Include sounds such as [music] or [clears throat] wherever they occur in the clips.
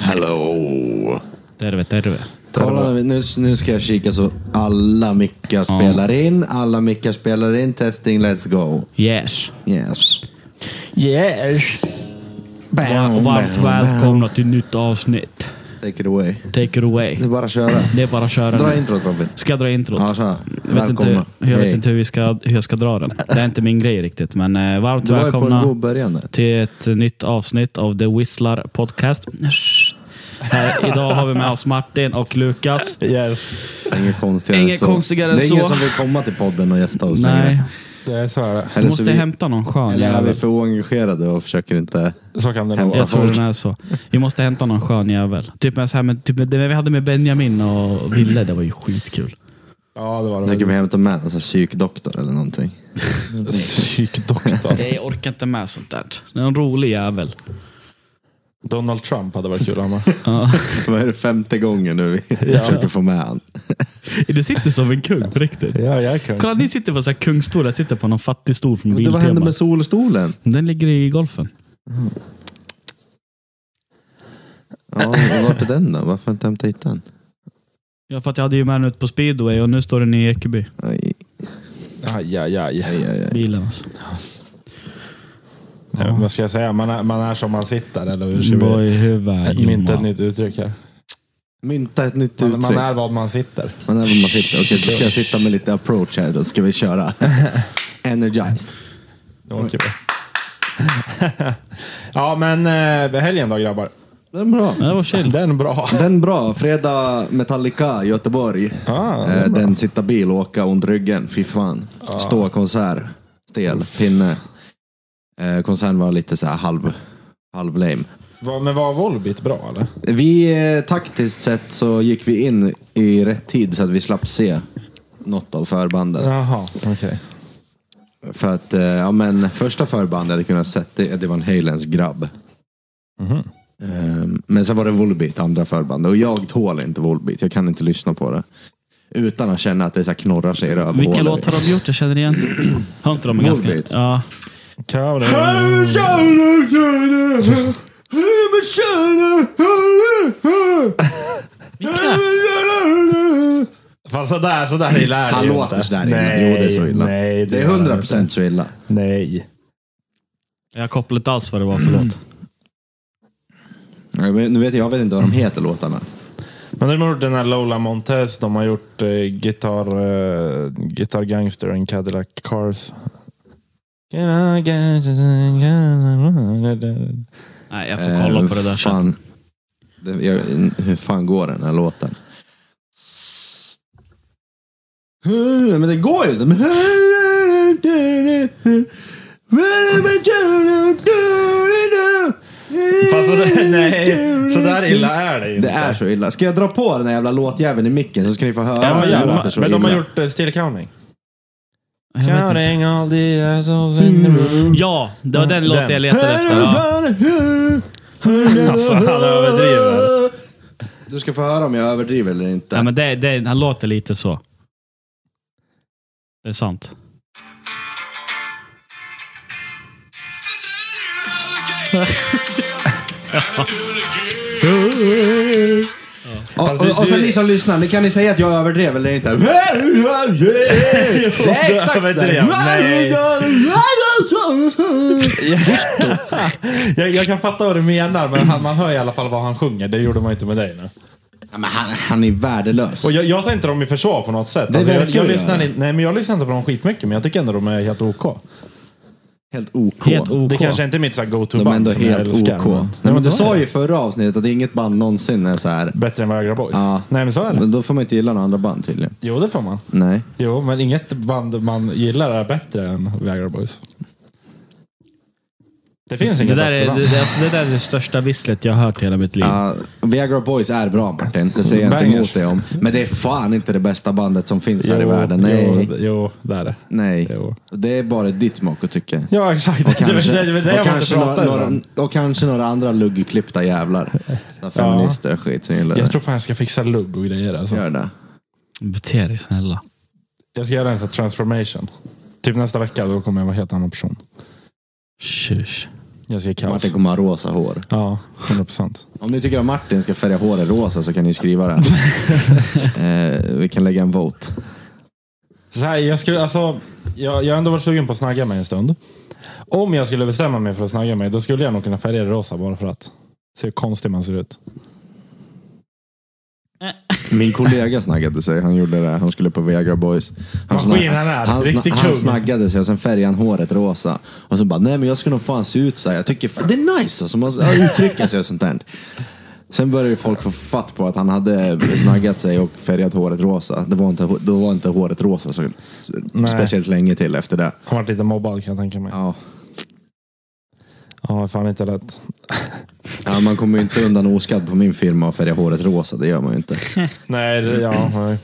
Hello. Terve, terve. Kolla, nu, nu- nu ska jag kika så alla mickar spelar in. Alla mickar spelar in. Testing, let's go. Yes. Yes. Yes. Bam, Varmt bam, välkomna till nytt avsnitt. bam. Take it away. Take it away. Det är bara att köra. Det är bara att köra Dra nu. introt Robin. Ska jag dra introt? Ja, så. jag vet inte, Välkomna. jag Hej. vet inte hur, vi ska, hur jag ska dra den. Det är inte min grej riktigt, men eh, varmt Du var ju på en god välkomna början där. till ett nytt avsnitt av The Whistlar Podcast. Här, idag har vi med oss Martin och Lukas. Yes, Det är Inget konstigare Inget så. konstigare än Det är ingen så. som vill komma till podden och gästa oss Nej, längre. det är så är det. Eller, så måste vi, hämta någon skön eller är jävel. vi för oengagerade och försöker inte... Så kan det Hem- vara. Jag tror den är så. Vi måste hämta någon skön jävel. Typ, med så här med, typ med, det vi hade med Benjamin och Ville, det var ju skitkul. Ja, det var Nu kan vi det. hämta med en sån här alltså psykdoktor eller någonting. [laughs] Psykdoktorn. Jag orkar inte med sånt där. Det är en rolig jävel. Donald Trump hade varit kul han med. Vad är det femte gången nu vi försöker få med han? Du sitter som en kung på riktigt. Ja, jag kan. Kolla, ni sitter på så här kungstol. Jag sitter på någon fattig stol från Men det, vad hände Biltema. med solstolen? Den ligger i golfen. Ja, vart är den då? Varför har inte hämtat hit den? Ja, för att jag hade ju med den ut på speedway och nu står den i Ekeby. Aj, Aj, aj, aj. aj, aj, aj. Bilen alltså. Ja, vad ska jag säga? Man är, man är som man sitter, eller hur ska Vad vi i huvudet, mynta ett Johan? nytt uttryck här? Mynta ett nytt Man, uttryck. man är vad man sitter. Man är var man sitter. Okej, då ska jag sitta med lite approach här. Då ska vi köra. [laughs] Energized. Nu åker vi. [laughs] Ja, men eh, helgen då grabbar? Den är bra. Ja, Det var chill. Den bra. Den är bra. Fredag Metallica, Göteborg. Ah, Eh, den sitta bil och åka ont ryggen. Fy fan. Stå konsert. Stel. Pinne. Eh, konserten var lite så här halv, halv lame. Vad- Men var Volbit bra eller? Vi eh, taktiskt sett så gick vi in i rätt tid så att vi slapp se något av förbanden. Jaha, okej. För att, eh, ja men första förbandet jag hade kunnat sett, det, det var en Halens grabb. Mhm. Ehm, Men sen var det Volbeat, andra förbandet. Och jag tål inte Volbeat, jag kan inte lyssna på det. Utan att känna att det så här knorrar sig i rövhålet. Vilka låtar har de [laughs] gjort? Jag känner igen. Har inte de en ganska... Volbeat. Ja. Fan sådär, sådär illa är det Han ju låter inte. sådär illa. Jo, det är så illa. Nej, Det är gör han 100 procent så illa. inte. Nej. Jag kopplar inte alls vad det var för Mm. låt. Jag vet- Nu vet jag, jag vet inte vad de heter låtarna. Men de har gjort den här Lola Montez, de har gjort eh, Guitar, eh, Guitar Gangster and Cadillac Cars. Nej, jag får kolla Eh, på det där sen. fan. Det- jag- Hur fan går den här låten? Men det går ju! så. Fast [laughs] sådär, [laughs] nej, sådär illa är det ju Det inte. är så illa. Ska jag dra på den här jävla låtjäveln i micken så ska ni få höra? Ja, men, hur det jävlar, låter så men de har illa. gjort eh, Still Counting. Jag vet inte. Counting all the assholes in Mm. the room. Ja, det var den låten Den. jag letade efter. Ja. [laughs] Alltså, han överdriver. Du ska få höra om jag överdriver eller inte. Nej, men det, det, han låter lite så. Det är sant. Och, Fast du- och, och så du- ni som lyssnar, ni kan ni säga att jag överdrev eller inte? Det är exakt så överdrev. Nej. där. Jag, jag kan fatta vad du menar, men han, man hör i alla fall vad han sjunger. Det gjorde man inte med dig nu. Ja, men han, han är värdelös. Och jag, jag tar inte dem i försvar på något sätt. Alltså, Det jag, verkar jag, du lyssnar göra. inte, nej, men jag lyssnar inte på dem skitmycket, men jag tycker ändå de är helt OK. Helt OK. Helt OK. Det kanske inte är mitt så här De är go-to-band ändå som jag helt älskar. OK. men- Nej, men du sa ju i förra avsnittet att inget band någonsin är så här. Bättre än Viagra Boys. Ja. Nej, men så är det. Men Då får man inte gilla några andra band tydligen. Jo, det får man. Nej. Jo, men inget band man gillar är bättre än Viagra Boys. Det finns Det inget där, bättre är, band. det, det- alltså, det där är det största visslet jag har hört i hela mitt liv. Ja, Viagra Boys är bra Martin, det säger jag inte Bangers. emot dig om. Men det är fan inte det bästa bandet som finns jo, här i världen. Nej. Jo, jo, det är det. Nej. Jo. Det är bara ditt smak och tycke. Ja, exakt. Och [laughs] kanske, det, det, det, det och jag kanske, måste prata några, några, om. och kanske några andra luggklippta jävlar. Så här feminister och skit som gillar Jag det. tror fan jag ska fixa lugg och grejer. Alltså. Gör det. Bete dig snälla. Jag ska göra en sån här transformation. Typ nästa vecka, då kommer jag vara en helt annan person. Tjus. Jag ser kaos. Martin kommer ha rosa hår. Ja, 100 procent. Om ni tycker att Martin ska färga håret rosa så kan ni skriva det. [laughs] eh, vi kan lägga en vote. Så här, jag, skulle, alltså, jag, jag har ändå varit sugen på att snagga mig en stund. Om jag skulle bestämma mig för att snagga mig, då skulle jag nog kunna färga det rosa bara för att. Se hur konstig man ser ut. Min kollega snaggade sig. Han gjorde det. Han skulle på Viagra Boys. Han, Maskin han är. han, Riktig han kung. snaggade sig och sen färgade han håret rosa. Och så bara, nej men jag ska nog fan se ut så här. Jag tycker fan, det är nice alltså, man ska uttrycka sig och sånt där. Sen började ju folk få fatt på att han hade snaggat sig och färgat håret rosa. Det var inte, då var inte håret rosa så Nej. speciellt länge till efter det. Han varit lite mobbad kan jag tänka mig. Ja, Ja. fan inte lätt. Ja, man kommer ju inte undan oskadd på min firma och färga håret rosa, det gör man ju inte. Nej, det, [clears throat] ja, nej.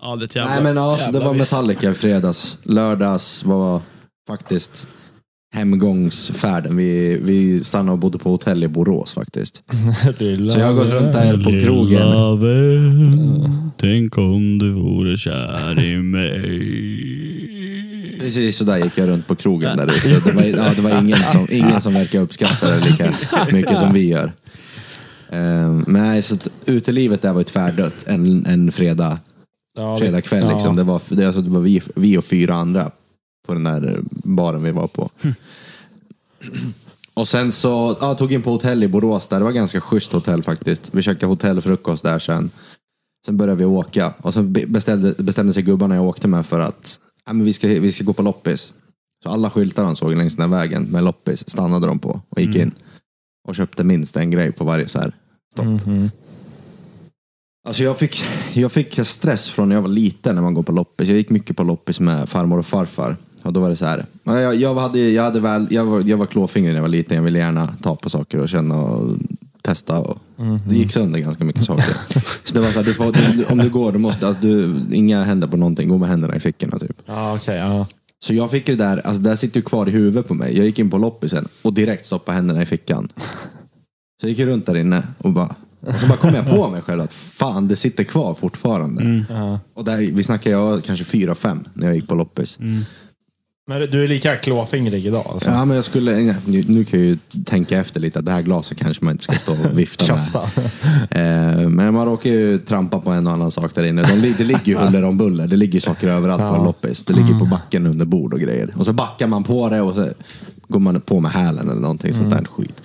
Ja, det är ett jävla, Nej men alltså, jävla det var viss. Metallica i fredags. Lördags var faktiskt hemgångsfärden. Vi, vi stannade och bodde på hotell i Borås faktiskt. Så jag har gått runt där på krogen. Lilla vän, tänk om du vore kär i mig. Precis så där gick jag runt på krogen där ute. Det var, ja, det var ingen, som, ingen som verkar uppskatta det lika mycket som vi gör. Ehm, nej, så att utelivet där var ju tvärdött en, en fredag, Ja, fredag kväll. ja. Liksom. Det var, det, alltså, det var vi, vi och fyra andra på den där baren vi var på. Hm. Och sen så ja, tog in på hotell i Borås där. Det var ganska schysst hotell faktiskt. Vi käkade hotellfrukost där sen. Sen började vi åka och sen be- beställde, bestämde sig gubbarna jag åkte med för att ja, men vi, ska, vi ska gå på loppis. Så alla skyltar de såg längs den här vägen med loppis stannade de på och Mm. gick in. Och köpte minst en grej på varje så här stopp. Mhm. Alltså jag fick, jag fick stress från när jag var liten när man går på loppis. Jag gick mycket på loppis med farmor och farfar. Och då var det så här. ja, Jag, jag, hade, jag, hade väl, jag, var, jag var klåfingrig när jag var liten. Jag ville gärna ta på saker och känna och testa. Och, Det gick sönder ganska mycket saker. så det var så här, du får, du, om du går, du måste, alltså, du, inga händer på någonting. Gå med händerna i fickorna typ. Ja, okej. ja. Så jag fick det där, alltså det där sitter ju kvar i huvudet på mig. Jag gick in på loppisen och direkt stoppade händerna i fickan. Så jag gick runt där inne och bara, och så bara kom jag på mig själv att fan, det sitter kvar fortfarande. Och där, vi snackar jag kanske fyra, fem när jag gick på loppis. Men du är lika klåfingrig idag alltså. Ja, men jag skulle, nej, nu, nu kan jag ju tänka efter lite, att det här glaset kanske man inte ska stå och vifta med. Kasta. [laughs] Eh, men man råkar ju trampa på en och annan sak där inne. De, li- det ligger ju huller om buller. Det ligger saker överallt på en loppis. Det ligger på backen under bord och grejer. Och så backar man på det och så går man på med hälen eller någonting sånt där skit.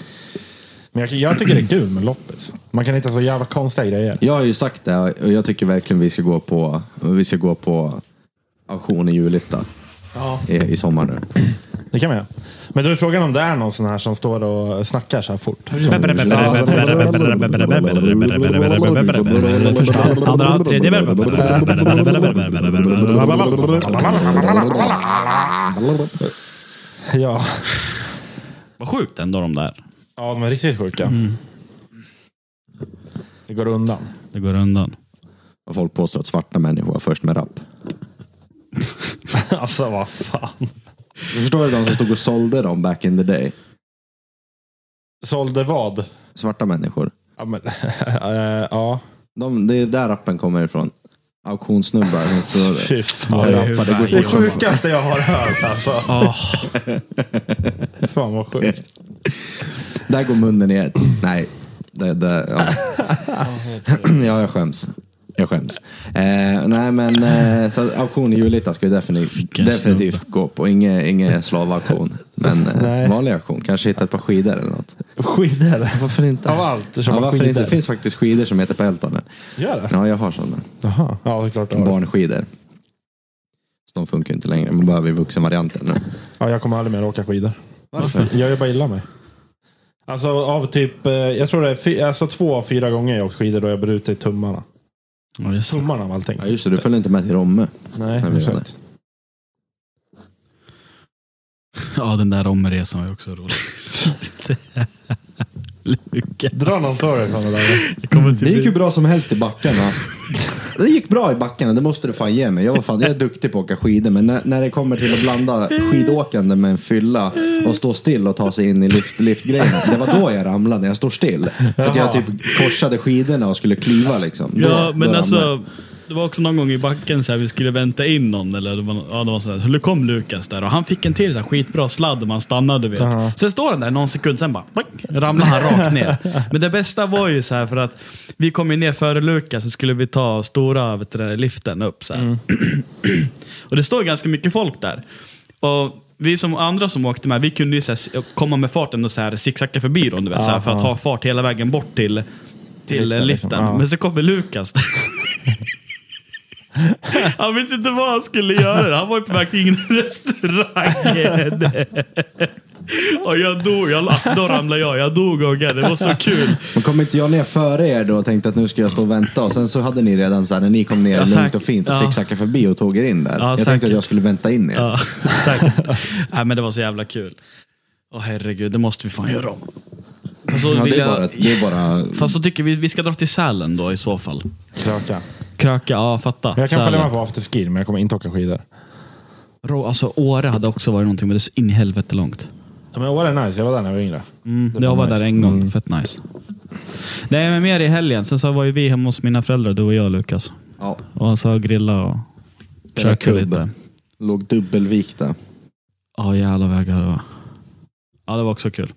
Men jag, jag tycker det är kul med loppis. Man kan hitta så jävla konstiga grejer. Jag har ju sagt det och jag tycker verkligen vi ska gå på, vi ska gå på auktion i Julita Ja. i, i sommar nu. Det kan man göra. Men då är frågan om det är någon sån här som står och snackar så här fort. Andra, tredje. Ja, Vad sjukt ändå de där. ja de är riktigt sjuka. Det går undan. [laughs] Det går undan. Och folk påstår att svarta människor var först med rap. Alltså vad fan. Du förstår ju de som stod och sålde dem back in the day. Sålde vad? Svarta människor. Ja, men, [laughs] eh, ja. De, det är där rappen kommer ifrån. Auktionssnubbar som står Fy och fan. rappar. Det går Det fort som fan. sjukaste jag har hört alltså. Ah, Oh, Fan vad sjukt. Där går munnen i ett. Nej. Det, det, ja. [clears throat] ja, jag skäms. Jag skäms. Eh, nej, men eh, så auktion i Julita ska vi definitivt, Vilken definitivt gå på. Ingen, ingen slavauktion, men eh, Nej. vanlig auktion. Kanske hitta ett par skidor eller något. Skidor. Varför inte? Av allt, köpa ja, varför skidor. inte? Det finns faktiskt skidor som heter Pelton. nu. Gör det? Ja, jag har sådana. Jaha. Ja, det är klart. du har. Barnskidor. Så de funkar ju inte längre. Man behöver ju vuxenvarianten nu. Ja, jag kommer aldrig mer åka skidor. Varför? Jag gör bara illa mig. Alltså av typ, eh, jag tror det är fy, alltså två av fyra gånger jag har åkt skidor då jag brutit tummarna. Tummarna av allting. Ja, just det. Du följer inte med till Romme. Nej, Nej, men jag exakt. ja, den där omresan var ju också rolig. Luka. Dra någon story från det där. Det gick ju bra som helst i backarna. [laughs] Det gick bra i backarna, det måste du fan ge mig. Jag, var fan, jag är duktig på att åka skidor, men när, när det kommer till att blanda skidåkande med en fylla och stå still och ta sig in i lift, liftgrejerna. Det var då jag ramlade, när jag står still. För att jag typ korsade skidorna och skulle kliva liksom. Ja, Då- då men ramlade jag. alltså. Det var också någon gång i backen så här, vi skulle vänta in någon. Eller, det var, ja, det var så, här, så kom Lukas där och han fick en till så här, skitbra sladd man stannade. du Vet. Ja. Sen står han där någon sekund, sen bara boing, ramlade han rakt ner. Men det bästa var ju så här för att vi kom ju ner före Lukas så skulle vi ta stora vet du, det, liften upp. Så här. Och det står ganska mycket folk där. Och vi som andra som åkte med, vi kunde ju så här, komma med farten och så här, zigzacka förbi dem, du vet, så här, för att Aha. ha fart hela vägen bort till, till Liften, liften. liksom. Ja. Men så kommer Lukas. Han visste inte vad han skulle göra. Han var ju på väg till ingen restaurang. Och jag dog. Jag, alltså, då ramlade jag. Jag dog och det var så kul. Men kom inte jag ner före er då och tänkte att nu ska jag stå och vänta och sen så hade ni redan så här, när ni kom ner Ja, lugnt säkert. och fint och Ja. zigzackade förbi och tog er in där. Ja, jag säkert. tänkte att jag skulle vänta in er. Ja, [laughs] säkert. Nej, men det var så jävla kul. Åh herregud, det måste vi fan göra om. Och så Ja, vill det, är jag- bara, det är bara... Fast så tycker vi vi ska dra till Sälen då i så fall. Kröka. Kröka, ja fatta. Jag kan Sälen. följa med på afterski men jag kommer inte åka skidor. Rå, alltså Åre hade också varit någonting, men det är så in i helvete långt. Ja, men Åre är nice, jag var där när jag var yngre. Mm, jag var där en gång, fett nice. Nej, men mer i helgen. Sen så var ju vi hemma hos mina föräldrar, du och jag Lukas. Ja, Och så grilla och Spela käka kubb. lite. låg dubbelvikta. Ja, jävla vägar det var. Ja, det var också kul.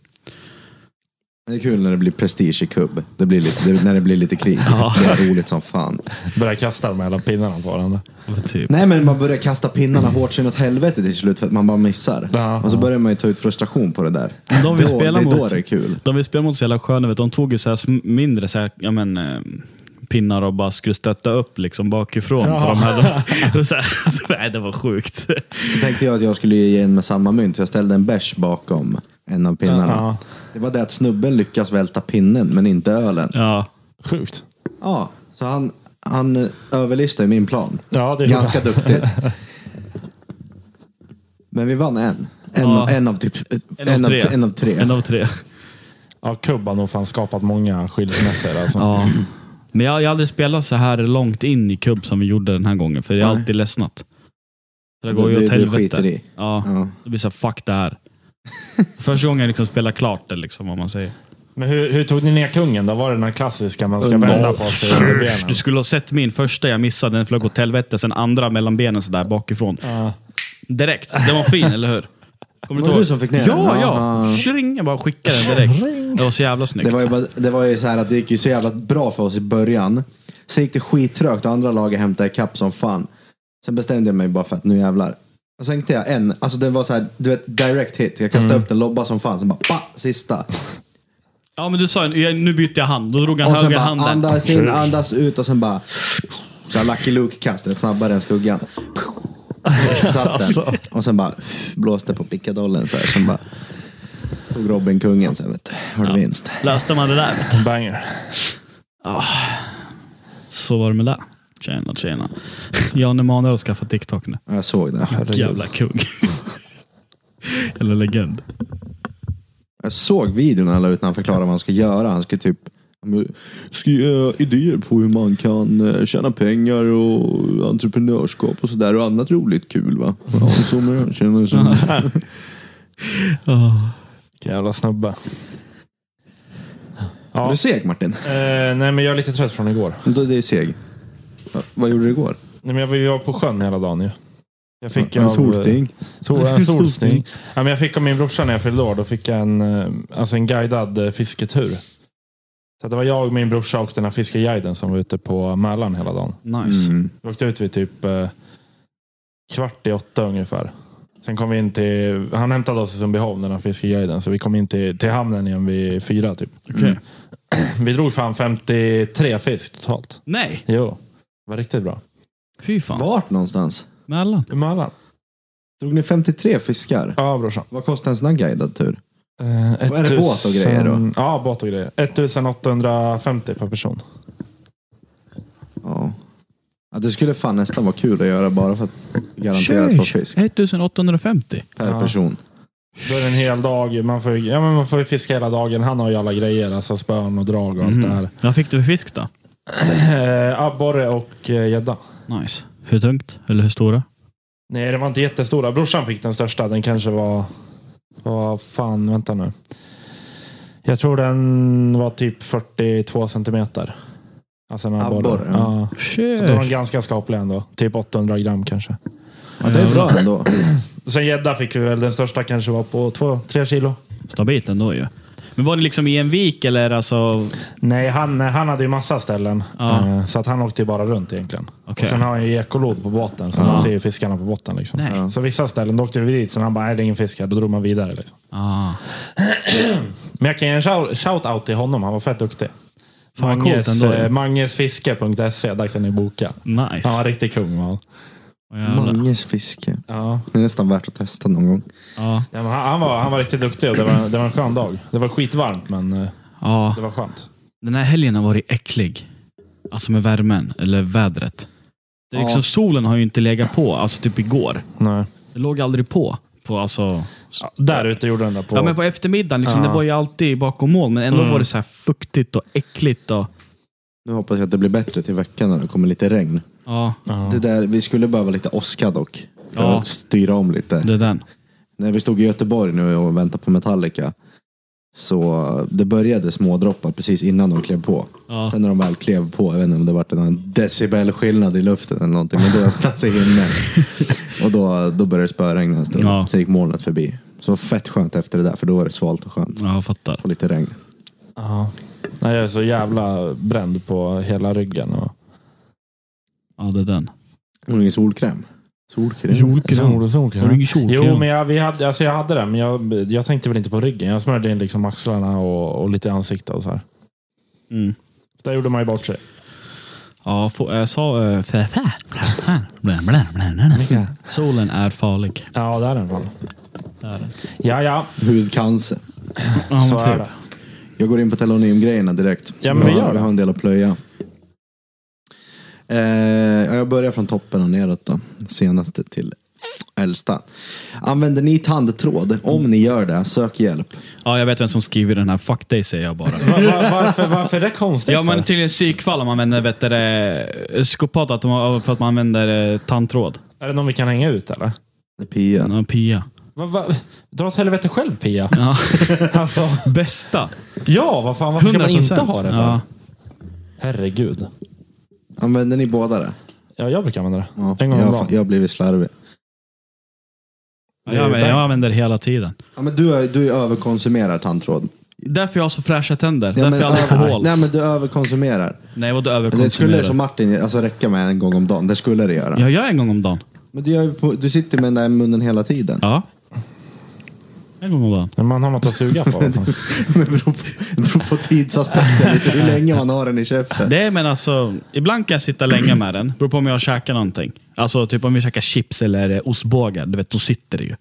Det är kul när det blir prestige i kubb. Det blir lite, det, när det blir lite krig. Ja. Det är roligt som fan. Började kasta med alla pinnarna på varandra. Typ. Nej men man börjar kasta pinnarna hårt så inåt helvete till slut för att man bara missar. Ja. och så börjar man ju ta ut frustration på det där. De vi då, [laughs] det spelar är då mot. det är kul. De vi spelade mot så jävla sköna, vet, du. de tog ju så här sm- mindre så här, ja, men, eh, pinnar och bara skulle stötta upp liksom bakifrån. På Ja. de här, de, [laughs] så här, nej, det var sjukt. Så tänkte jag att jag skulle ge in med samma mynt för jag ställde en bärs bakom en av pinnarna. Ja. Det var det att snubben lyckas välta pinnen men inte ölen. Ja. Sjukt. Ja, så han, han överlistade min plan. Ja, det är Ganska duktigt. [laughs] Men vi vann en. En, Ja. en av typ... En, av tre. En av tre. En av tre. Ja, Kubb har nog fan skapat många skilsmässor. Alltså. Ja. Men jag, jag har aldrig spelat så här långt in i kubb som vi gjorde den här gången, för jag har Nej. alltid ledsnat. Så det Du- går ju du- åt du skiter helvete. i. Ja, Ja. det blir så här, fuck [laughs] det här. Första gången jag liksom spelar klart det, liksom, vad man säger. Men hur, hur tog ni ner kungen då? Var det den här klassiska man ska Mm. vända på sig under benen? Du skulle ha sett min första jag missade, den flög åt helvete. Sen andra mellan benen sådär bakifrån. Ja. Direkt. Den var fin, eller hur? Kommer Var det du som fick ner den? Ja, ja. Ja. Tjring, jag bara skickade den direkt. Det var så jävla snyggt. Det var, ju, bara- det var ju så här att det gick ju så jävla bra för oss i början. Sen gick det skittrögt och andra laget hämtade ikapp som fan. Sen bestämde jag mig bara för att nu jävlar. Och sen tänkte jag en, alltså den var så här, du vet direct hit. Jag Mm. kastade upp den, lobba som fan, sen bara pa, sista. Ja, men du sa ju, "Ja, nu byter jag hand. Då drog han Och sen höger bara handen. andas in, andas ut och sen bara så här Lucky Luke-kast, du vet, snabbare än skuggan. Satt Alltså. den. Och sen bara blåste på pickadollen så här. Sen bara tog Robin kungen sen vet du. Var det vinst. Löste man det där? Banger. Så var det med det. Tjena, tjena. [laughs] Jan Emanuel har skaffat TikTok nu. Ja, Jag såg det. [laughs] Jävla kung. Eller [laughs] legend. Jag såg videon han la ut när han förklarade vad han ska göra. Han ska typ ska ge idéer på hur man kan eh, tjäna pengar och entreprenörskap och sådär och annat roligt kul va. Ja, och så med det. Tjena, tjena. Oh. Vilken jävla snubbe. Är Ja. du seg Martin? Eh, nej, men jag är lite trött från igår. Då- Det är seg. Ja, Vad gjorde du igår? Nej, men jag, var- jag var på sjön hela dagen ju. Jag fick en av- eh, solsting. Sol, en solsting. Solsting. Ja, men jag fick av min brorsa när jag fyllde år. Då fick jag en, eh, alltså en guidad eh, fisketur. Så att det var jag, min brorsa och den här fiskeguiden som var ute på Mälaren hela dagen. Nice. Mm. Vi åkte ut vid typ eh, kvart i åtta ungefär. Sen kom vi in till, han hämtade oss i Sundbyholm den här fiskeguiden. Så vi kom in till, till hamnen igen vid fyra typ. Okej. [clears throat] Vi drog fram 53 fisk totalt. Nej, Jo, det var riktigt bra. fy fan. Vart någonstans? Mellan. I Mälaren? Drog ni 53 fiskar? Ja brorsan. Vad kostar en sån här guidad tur? Eh, är det båt och grejer då? 1000 Ja, båt och grejer. 1850 per person. Ja. ja. Det skulle fan nästan vara kul att göra bara för att garanterat få fisk 1850. per Ja. person. Då är det en hel dag. Man får, ju- ja, men man får ju fiska hela dagen. Han har ju alla grejer. Alltså spön och drag och allt Mm. det här. Vad fick du för fisk då? Eh, Abborre och eh, gädda. Nice. Hur tungt? Eller hur stora? Nej, det var inte jättestora. Brorsan fick den största. Den kanske var... Vad fan, vänta nu. Jag tror den var typ 42 centimeter. Alltså en abborre. Abborre, ja. Ja. Shit. Så då är de ganska skapliga ändå. Typ 800 gram kanske. Ja, det är bra [clears throat] ändå. Sen gädda fick vi väl. Den största kanske var på 2-3 kilo. Stabilt ändå ju. Men var det liksom i en vik eller alltså? Nej, han, han hade ju massa ställen. Ja. Eh, Så att han åkte ju bara runt egentligen. Okej. Och sen har han ju ekolod på båten, så man ser ju fiskarna på botten. Liksom. Nej. Ja. Så vissa ställen, då åkte vi dit, sen han bara, nej det är ingen fisk här. Då drog man vidare. Liksom. Ah. Men jag kan ge en shou- shout-out till honom, han var fett duktig. vad coolt Manges, ändå ju. eh, Mangesfiske.se, där kan ni boka. Nice. Han var riktig kung var han. Åh, jävlar. Manges fiske. Ja. Det är nästan värt att testa någon gång. Ja. Ja, men han, han, var, han var riktigt duktig och det var, det var en skön dag. Det var skitvarmt, men eh, ja. det var skönt. Den här helgen har varit äcklig. Alltså med värmen, eller vädret. Det är Ja. liksom, Solen har ju inte legat på, alltså typ igår. Nej. Det låg aldrig på. på alltså, Ja, där ute gjorde den där på... ja, men på eftermiddagen, liksom, Ja. det var ju alltid bakom moln, men ändå Mm. var det så här fuktigt och äckligt. Och, Nu hoppas jag att det blir bättre till veckan när det kommer lite regn. ja, Ja. Det där, vi skulle behöva lite åska dock. För Ja. att styra om lite. det är den. När vi stod i Göteborg nu och väntade på Metallica. Så det började smådroppar precis innan de klev på. Ja. Sen när de väl klev på, jag vet inte om det var en decibelskillnad i luften eller någonting. Men då öppnade sig [laughs] himlen. Och då, då började det spöregna en stund. Ja. Sen gick molnet förbi. Så det var fett skönt efter det där, för då var det svalt och skönt. Ja, jag fattar. Få lite regn. Ja. Nej, jag är så jävla bränd på hela ryggen. Och... Ja, det är den. Har du ingen solkräm? Solkräm? Sol, sol, Har du ingen kjolkräm? Jo, men jag, vi hade, alltså jag hade det, men jag, jag tänkte väl inte på ryggen. Jag smörjde in liksom axlarna och, och lite i ansiktet och så här. Mm. Så där gjorde man ju bort sig. Ja, få- jag sa... eh, fä- fä- här. Blä, blä, blä, blä, blä. Solen är farlig. Ja, det är den fan. Där är den. Ja, ja. Hudcancer. Ja, Så men är typ. det. Jag går in på telonym-grejerna direkt. Ja, men vi gör det. Jag har en del att plöja. Eh, ja, jag börjar från toppen och neråt då. Senaste till äldsta. Använder ni tandtråd? Om ni gör det, sök hjälp. Ja, jag vet vem som skriver den här. Fuck dig, säger jag bara. Va- va- varför, varför är det konstigt? Ja, men för? tydligen psykfall om man använder vet du, det, eh, psykopat att de, för att man använder eh, tandtråd. Är det någon vi kan hänga ut eller? Det är Pia. Ja, Pia. Va, va? Dra åt helvete själv Pia. [laughs] Ja. Alltså, Bästa! ja, vad fan, varför ska man inte 100%. ha det för? Ja. Herregud. Använder ni båda det? Ja, jag brukar använda det. Ja, En gång om jag, dagen. jag har blivit slarvig. Ja, men jag använder det hela tiden. Ja, men du, är- du överkonsumerar tandtråd. Därför jag har så fräscha tänder. Ja, Därför jag aldrig får över, hål. nej, men du överkonsumerar. Nej, vad du Det skulle, som överkonsumerar. Martin, alltså räcka med en gång om dagen. Det skulle det göra. Jag gör en gång om dagen. Men du, gör ju på- du sitter med den där i munnen hela tiden. Ja. En gång om dagen. Men man har något att suga på. [laughs] [laughs] Det beror på, det beror på tidsaspekten, lite hur länge man har den i käften. Det är, men alltså, ibland kan jag sitta länge med den. Beror på om jag käkar någonting. Alltså typ om vi käkar chips eller eh, ostbågar. Du vet, då sitter det ju.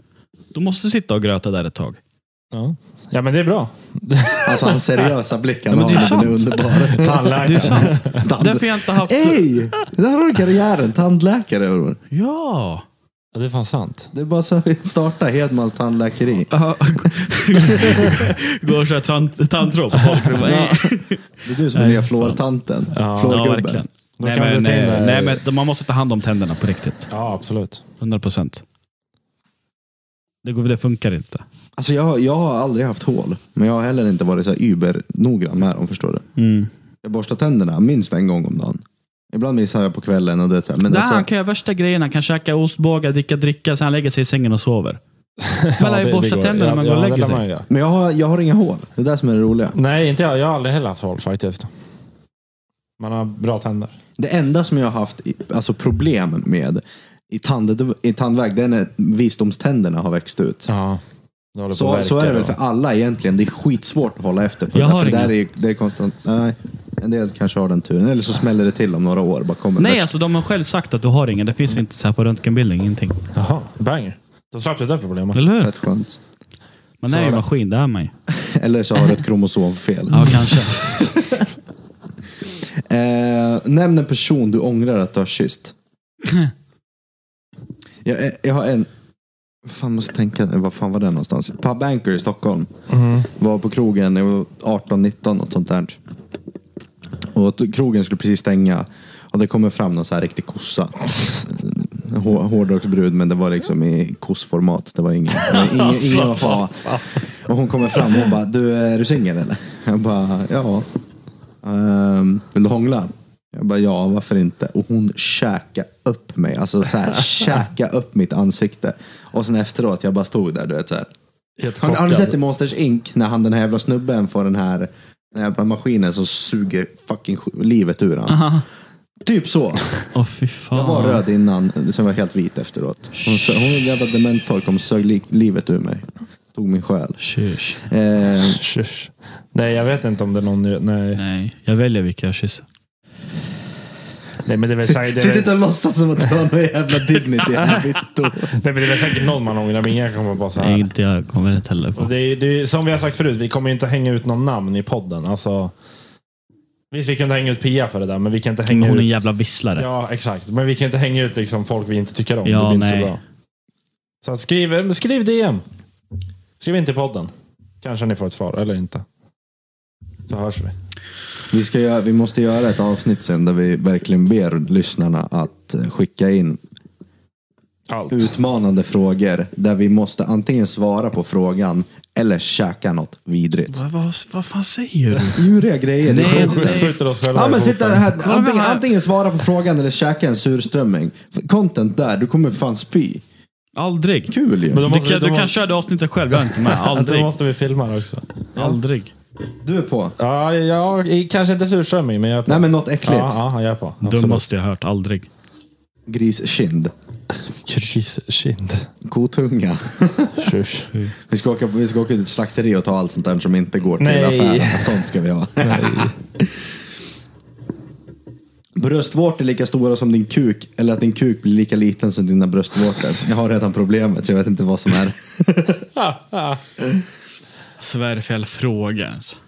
Du måste sitta och gröta där ett tag. Ja. ja, men det är bra. Alltså hans seriösa blick han Ja, men har, det är den är sant. underbar. Det är Tandläkare. sant. Tand... Därför jag inte haft... Ey! Där har du karriären, tandläkare. bror. Ja! Ja, det är fan sant. Det är bara så att starta Hedmans tandläkeri. Går och kör tant- tandtråd på folk. Det bara, "Ey." Det är du som är Nej, nya fan. fluortanten. Ja, Ja, Fluorgubben. verkligen. Då Nej kan men, du ta in eh, det- nej, men man måste ta hand om tänderna på riktigt. Ja, absolut. 100 procent. Det, går- det funkar inte. Alltså jag, har- jag har aldrig haft hål, men jag har heller inte varit så här übernoggrann med dem förstår du. Mm. Jag borstar tänderna minst en gång om dagen. Ibland missar jag på kvällen och det är så här, men Nej, alltså, han kan göra värsta grejerna. Han kan käka ostbågar, dricka dricka, sen han lägger sig i sängen [laughs] och sover. Man lär ju det- borsta det går. tänderna när man Ja, går och ja, lägger det lär man sig. ju göra. Men jag har, jag har inga hål, det är det som är det roliga. Nej, inte jag. Jag har aldrig heller haft hål faktiskt. Man har bra tänder. Det enda som jag har haft i- alltså problem med i, tand, i tandväg, det är när visdomständerna har växt ut. Ja. Det håller på Så, att så är det verka väl för och- alla egentligen. Det är skitsvårt att hålla efter på Jag det har där, för inga. där är, ju- det är konstant. Nej, en del kanske har den turen. Eller så smäller det till om några år. Bara kommer Nej, värsta- alltså de har själv sagt att du har ingen. Det finns inte så här på röntgenbilden, ingenting. Jaha, banger. Då slapp du det problemet. Eller hur? Rätt skönt. Man är ju Så- en maskin, det är man ju. Eller så har du ett kromosomfel. [laughs] Ja, Mm. [laughs] kanske. Eh, nämn en person du ångrar att du har kysst. jag, eh, jag har en... Vad fan måste jag tänka? Vad fan var det någonstans? På Banker i Stockholm. Var på krogen, jag var 18-19 något sånt där. Och t- krogen skulle precis stänga. Och det kommer fram någon så här riktig kossa. En hår- Hårdrocksbrud, men det var liksom i kossformat. Det var ingen, det var ingen, ingen att ha. Och hon kommer fram och bara, du är du singel eller? Jag bara, ja. Ehm, vill du hångla? Jag bara, ja varför inte? Och hon käkade upp mig. Alltså så här, käkade upp mitt ansikte. Och sen efteråt, jag bara stod där du vet så här. Har, har ni sett i Monsters Inc när han den här jävla snubben får den här, den här jävla maskinen som suger fucking sj- livet ur han. Typ så. Åh fy fan. Jag var röd innan, sen var jag helt vit efteråt. Hon, sö- hon en jävla dementtork, hon sög li, livet ur mig. Tog min själ. Tjus. Eh, Shush. Nej, jag vet inte om det är någon... Nej, Nej, jag väljer vilka jag kysser. nej men det är väl säkert... sitt inte och låtsas som att du har någon jävla dignity här Vitto. Nej, men det är väl säkert någon man ångrar, men ingen kommer bara så Nej, här. inte jag kommer inte heller Och på. Det är, det är, som vi har sagt förut, vi kommer ju inte hänga ut någon namn i podden. Alltså, visst, vi kunde hänga ut Pia för det där, men vi kan inte Men hänga hon är en ut... jävla visslare. Ja, exakt. Men vi kan inte hänga ut liksom, folk vi inte tycker om. Ja, det blir inte nej. så bra. Så att skriv, eh, skriv DM. Skriv inte i podden. Kanske ni får ett svar, eller inte. Så hörs vi. Vi, ska göra, vi måste göra ett avsnitt sen där vi verkligen ber lyssnarna att eh, skicka in Allt. utmanande frågor där vi måste antingen svara på frågan eller käka något vidrigt. Vad, vad, vad fan säger [laughs] du? Djuriga grejer. det är Nej, sjukt. Skj- nej. Skjuter oss själva Ja i men foten. sitta här, Kolla antingen, här. antingen svara på frågan eller käka en surströmming. F- Content där, du kommer fan spy. Aldrig. Kul ju. Men då Du måste vi- kan, då du kan måste- köra det avsnittet själv, jag är [laughs] inte med. Då Aldrig. måste vi filma det också. Aldrig. Du är på. Ja, jag, kanske inte surströmming, men jag är på. Nej men något äckligt. Ja, ja, jag är på. Du Absolut. måste jag ha hört. Aldrig. Griskind. Griskind. Kotunga. Tjus. Vi ska, åka, vi ska åka till ett slakteri och ta allt sånt där som inte går till Nej. affärerna. Sånt ska vi ha. Bröstvårtor lika stora som din kuk eller att din kuk blir lika liten som dina bröstvårtor. Jag har redan problemet så jag vet inte vad som är. Så vad är det för jävla fråga ens? [laughs]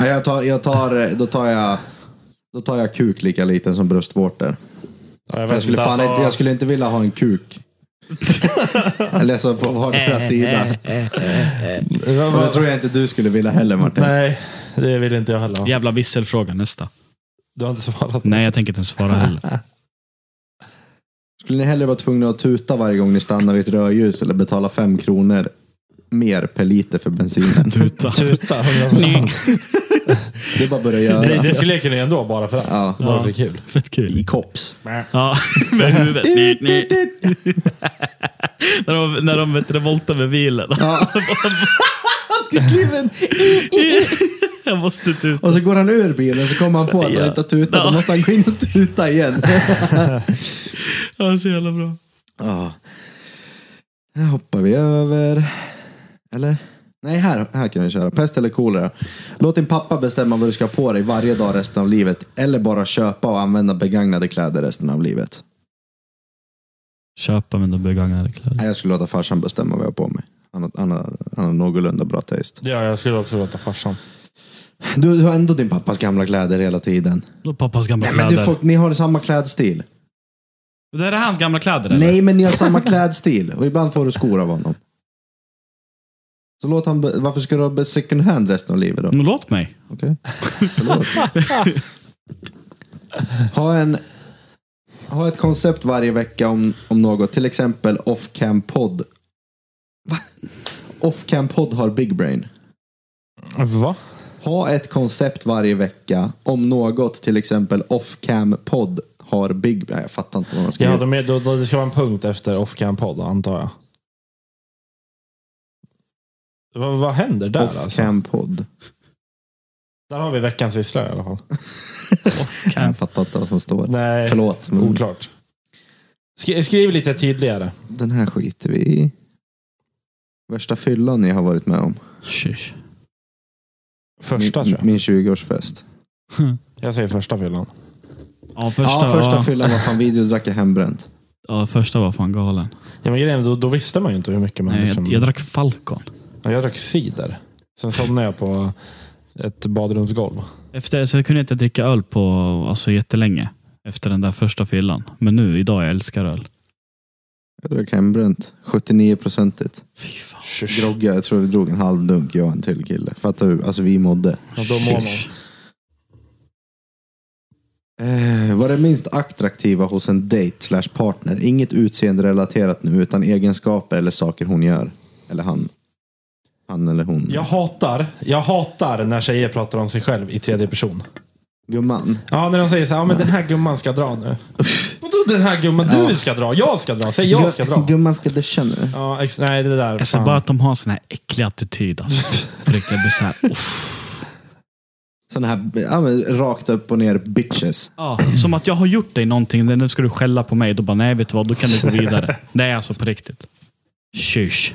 Nej, Jag tar, jag tar, då, tar jag, då tar jag kuk lika liten som bröstvårtor. För jag, skulle Alltså- fan inte, jag skulle inte vilja ha en kuk. Eller alltså på vardera sida. Och det tror jag inte du skulle vilja heller Martin. Nej, det vill inte jag heller ha. Jävla visselfråga nästa. Du har inte svarat. Nej, jag tänker inte ens svara [laughs] heller. Skulle ni hellre vara tvungna att tuta varje gång ni stannar vid ett rödljus eller betala fem kronor mer per liter för bensinen? Tuta. [laughs] Tuta, 100%. Det är bara att börja det, göra. det skulle jag kunna göra ändå, bara för att. Ja. Det var för kul. Fett kul. I kops. Ja, [laughs] med huvudet. Nej, nej. När de, när de vet, du, voltar med bilen. [laughs] Han ska kliva in. [laughs] Jag måste tuta. Och så går han ur bilen så kommer han på att han Ja. inte har tutat. Då måste han gå in och [laughs] tuta igen. Ja, så jävla bra. Ja. Här hoppar vi över. Eller? Nej, här, här kan vi köra. Pest eller kolera. Låt din pappa bestämma vad du ska ha på dig varje dag resten av livet. Eller bara köpa och använda begagnade kläder resten av livet. Köpa mina begagnade kläder. Nej, jag skulle låta farsan bestämma vad jag har på mig. Han har, han har, han har någorlunda bra taste. Ja, jag skulle också låta farsan. Du, du har ändå din pappas gamla kläder hela tiden. Då pappas gamla Nej, men du kläder. får, ni har samma klädstil. Det är det hans gamla kläder eller? Nej, men ni har samma klädstil. Och ibland får du skor av honom. Så låt han, be- varför ska du ha be- second hand resten av livet då? Men låt mig. Okej. Förlåt. ha, en, ha ett koncept varje vecka om, om något. Till exempel off-cam podd. Va? Off-cam podd har big brain. Va? Ha ett koncept varje vecka om något. Till exempel off-cam podd har big brain. Jag fattar inte vad man ska Ja, göra. de är, då, då, det ska vara en punkt efter off-cam-podd, antar jag. Vad, vad händer där alltså? Off-cam podd. Där har vi veckans syssla i alla fall. Off-cam. Jag fattar inte vad som står. Nej, Förlåt, men Mm. oklart. Skri, skriv lite tydligare. den här skiter vi i. Värsta fyllan ni har varit med om. Shush. Första, min, tror jag. min 20-årsfest. Jag säger första fyllan. [laughs] Ja, första, ja, första ja, fyllan var fan video, drack jag hembränt. ja, första var fan galen. Ja, men grejen, är, då, då visste man ju inte hur mycket man... Nej, liksom, jag, jag drack Falcon. Ja, jag drack cider. Sen somnade jag på ett badrumsgolv. Efter, så jag kunde inte dricka öl på alltså, jättelänge. Efter den där första fyllan. Men nu, idag, jag älskar öl. Jag drack hembränt. 79-procentigt. Fy fan. Grogga, jag tror vi drog en halv dunk, jag och en till kille. Fattar du? Alltså vi mådde. Och då mår man. Shush. Eh, vad är det minst attraktiva hos en dejt slash partner? Inget utseende relaterat nu, utan egenskaper eller saker hon gör. Eller han. Han eller hon. Jag hatar, jag hatar när tjejer pratar om sig själv i tredje person. Gumman. Ja, när de säger så här, ja, men den här gumman ska dra nu. Vadå den här gumman? Du ska dra, jag ska dra, säg jag ska Gu- dra. Gumman ska duscha nu. Ja, ex- nej, det där. Alltså fan. bara att de har en sån här äcklig attityd alltså. På riktigt, jag blir så här, uff. Sån här, ja, men, rakt upp och ner bitches. ja, Som att jag har gjort dig någonting, nu ska du skälla på mig. Då bara, nej vet du vad, då kan du gå vidare. Nej alltså på riktigt. Tjus.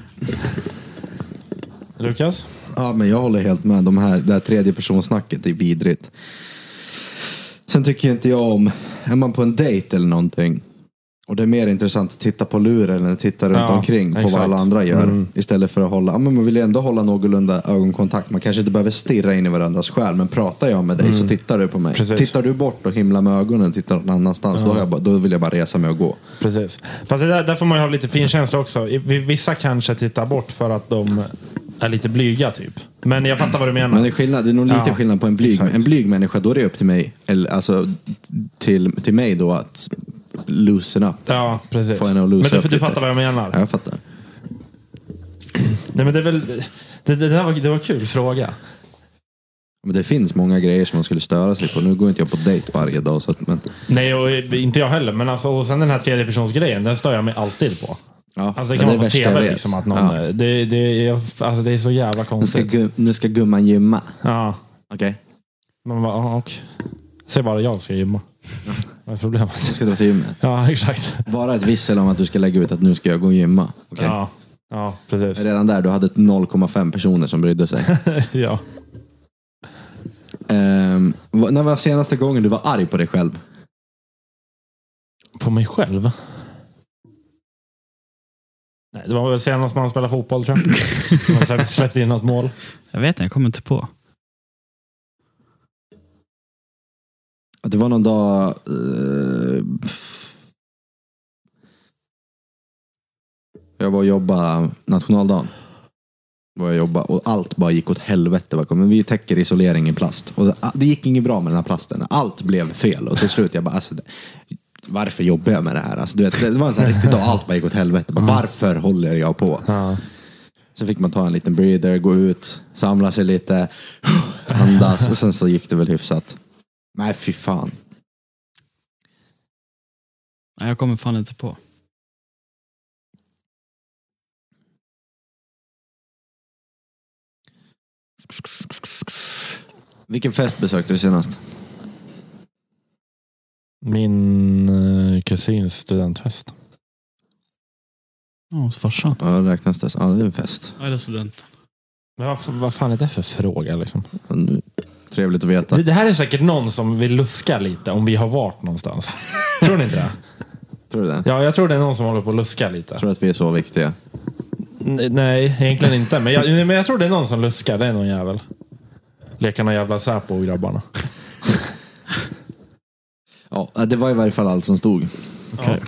Lukas? Ja, men jag håller helt med. De här, det här tredje personsnacket är vidrigt. Sen tycker ju inte jag om, är man på en dejt eller någonting och det är mer intressant att titta på luren än att titta runt Ja, omkring på exakt. Mm. vad alla andra gör. Istället för att hålla, ja, men man vill ju ändå hålla någorlunda ögonkontakt. Man kanske inte behöver stirra in i varandras själ, men pratar jag med dig så tittar du på mig. Mm. Precis. Tittar du bort och himlar med ögonen och tittar någon annanstans, då, har jag bara, då vill jag bara resa mig och gå. Precis. Fast det där, där får man ju ha lite finkänsla också. I- vi- Vissa kanske tittar bort för att de är lite blyga typ. Men jag fattar vad du menar. Men det är, skillnad, det är nog lite Ja, skillnad på en blyg, exakt. en blyg människa. Då är det upp till mig, eller, alltså, till, till mig då att loosen up. Ja, precis. Får henne att men loosa du, upp du lite. fattar vad jag menar. Ja, jag fattar. Nej, men det, är väl, det, det, där var, det var en kul fråga. Men det finns många grejer som man skulle störa sig på. Nu går inte jag på dejt varje dag. Så att, men, Nej, och inte jag heller. Men alltså, och sen den här tredjepersonsgrejen, den stör jag mig alltid på. ja, Alltså, det men kan är vara på värsta jag tv vet. liksom att någon... Ja. Det, det, jag, alltså, det är så jävla Nu, ska konstigt. gu, nu ska gumman gymma. Ja. Okej. Man bara, ja, och. Säg bara jag ska gymma. Vad är Du problemet? ska dra till gymmet. Ja, [laughs] exakt. Bara ett vissel om att du ska lägga ut att nu ska jag gå och gymma. Okej. Ja, ja precis. Redan där, du hade ett 0,5 personer som brydde sig. [laughs] Ja. Ehm, vad- när var senaste gången du var arg på dig själv? På mig själv? Nej, det var väl senast man spelade fotboll tror jag. Man släpp- släppte in något mål. Jag vet inte, jag kommer inte på. Att det var någon dag... eh, jag var och jobbade nationaldagen. Var jag jobba, och allt bara gick åt helvete. va. Men vi täcker isolering i plast. Och det- det gick inget bra med den här plasten. Allt blev fel. Och till slut jag bara, alltså, det- varför jobbar jag med det här? Alltså, du vet, det var en sån här riktig dag, allt bara gick åt helvete. Bara, varför håller jag på? Ja. Så fick man ta en liten breather, gå ut, samla sig lite, [sighs] andas och sen så gick det väl hyfsat. Nej, fy fan. Nej, jag kommer fan inte på. Vilken fest besökte du senast? Min eh, kusins studentfest. Ja, hos farsan. Ja, räknas det? Ja, det är en fest. Ja, det är studenten. Men vad, f- vad fan är det för fråga liksom? Mm, Trevligt att veta. Det, det här är säkert någon som vill luska lite om vi har varit någonstans. tror ni inte det? Tror du det? Ja, jag tror det är någon som håller på att luska lite. Tror du att vi är så viktiga? N- Nej, egentligen inte. Men jag, nej, men jag tror det är någon som luskar. Det är någon jävel. Leka någon jävla Säpo och grabbarna. Ja, det var i varje fall allt som stod. Okej. Ja.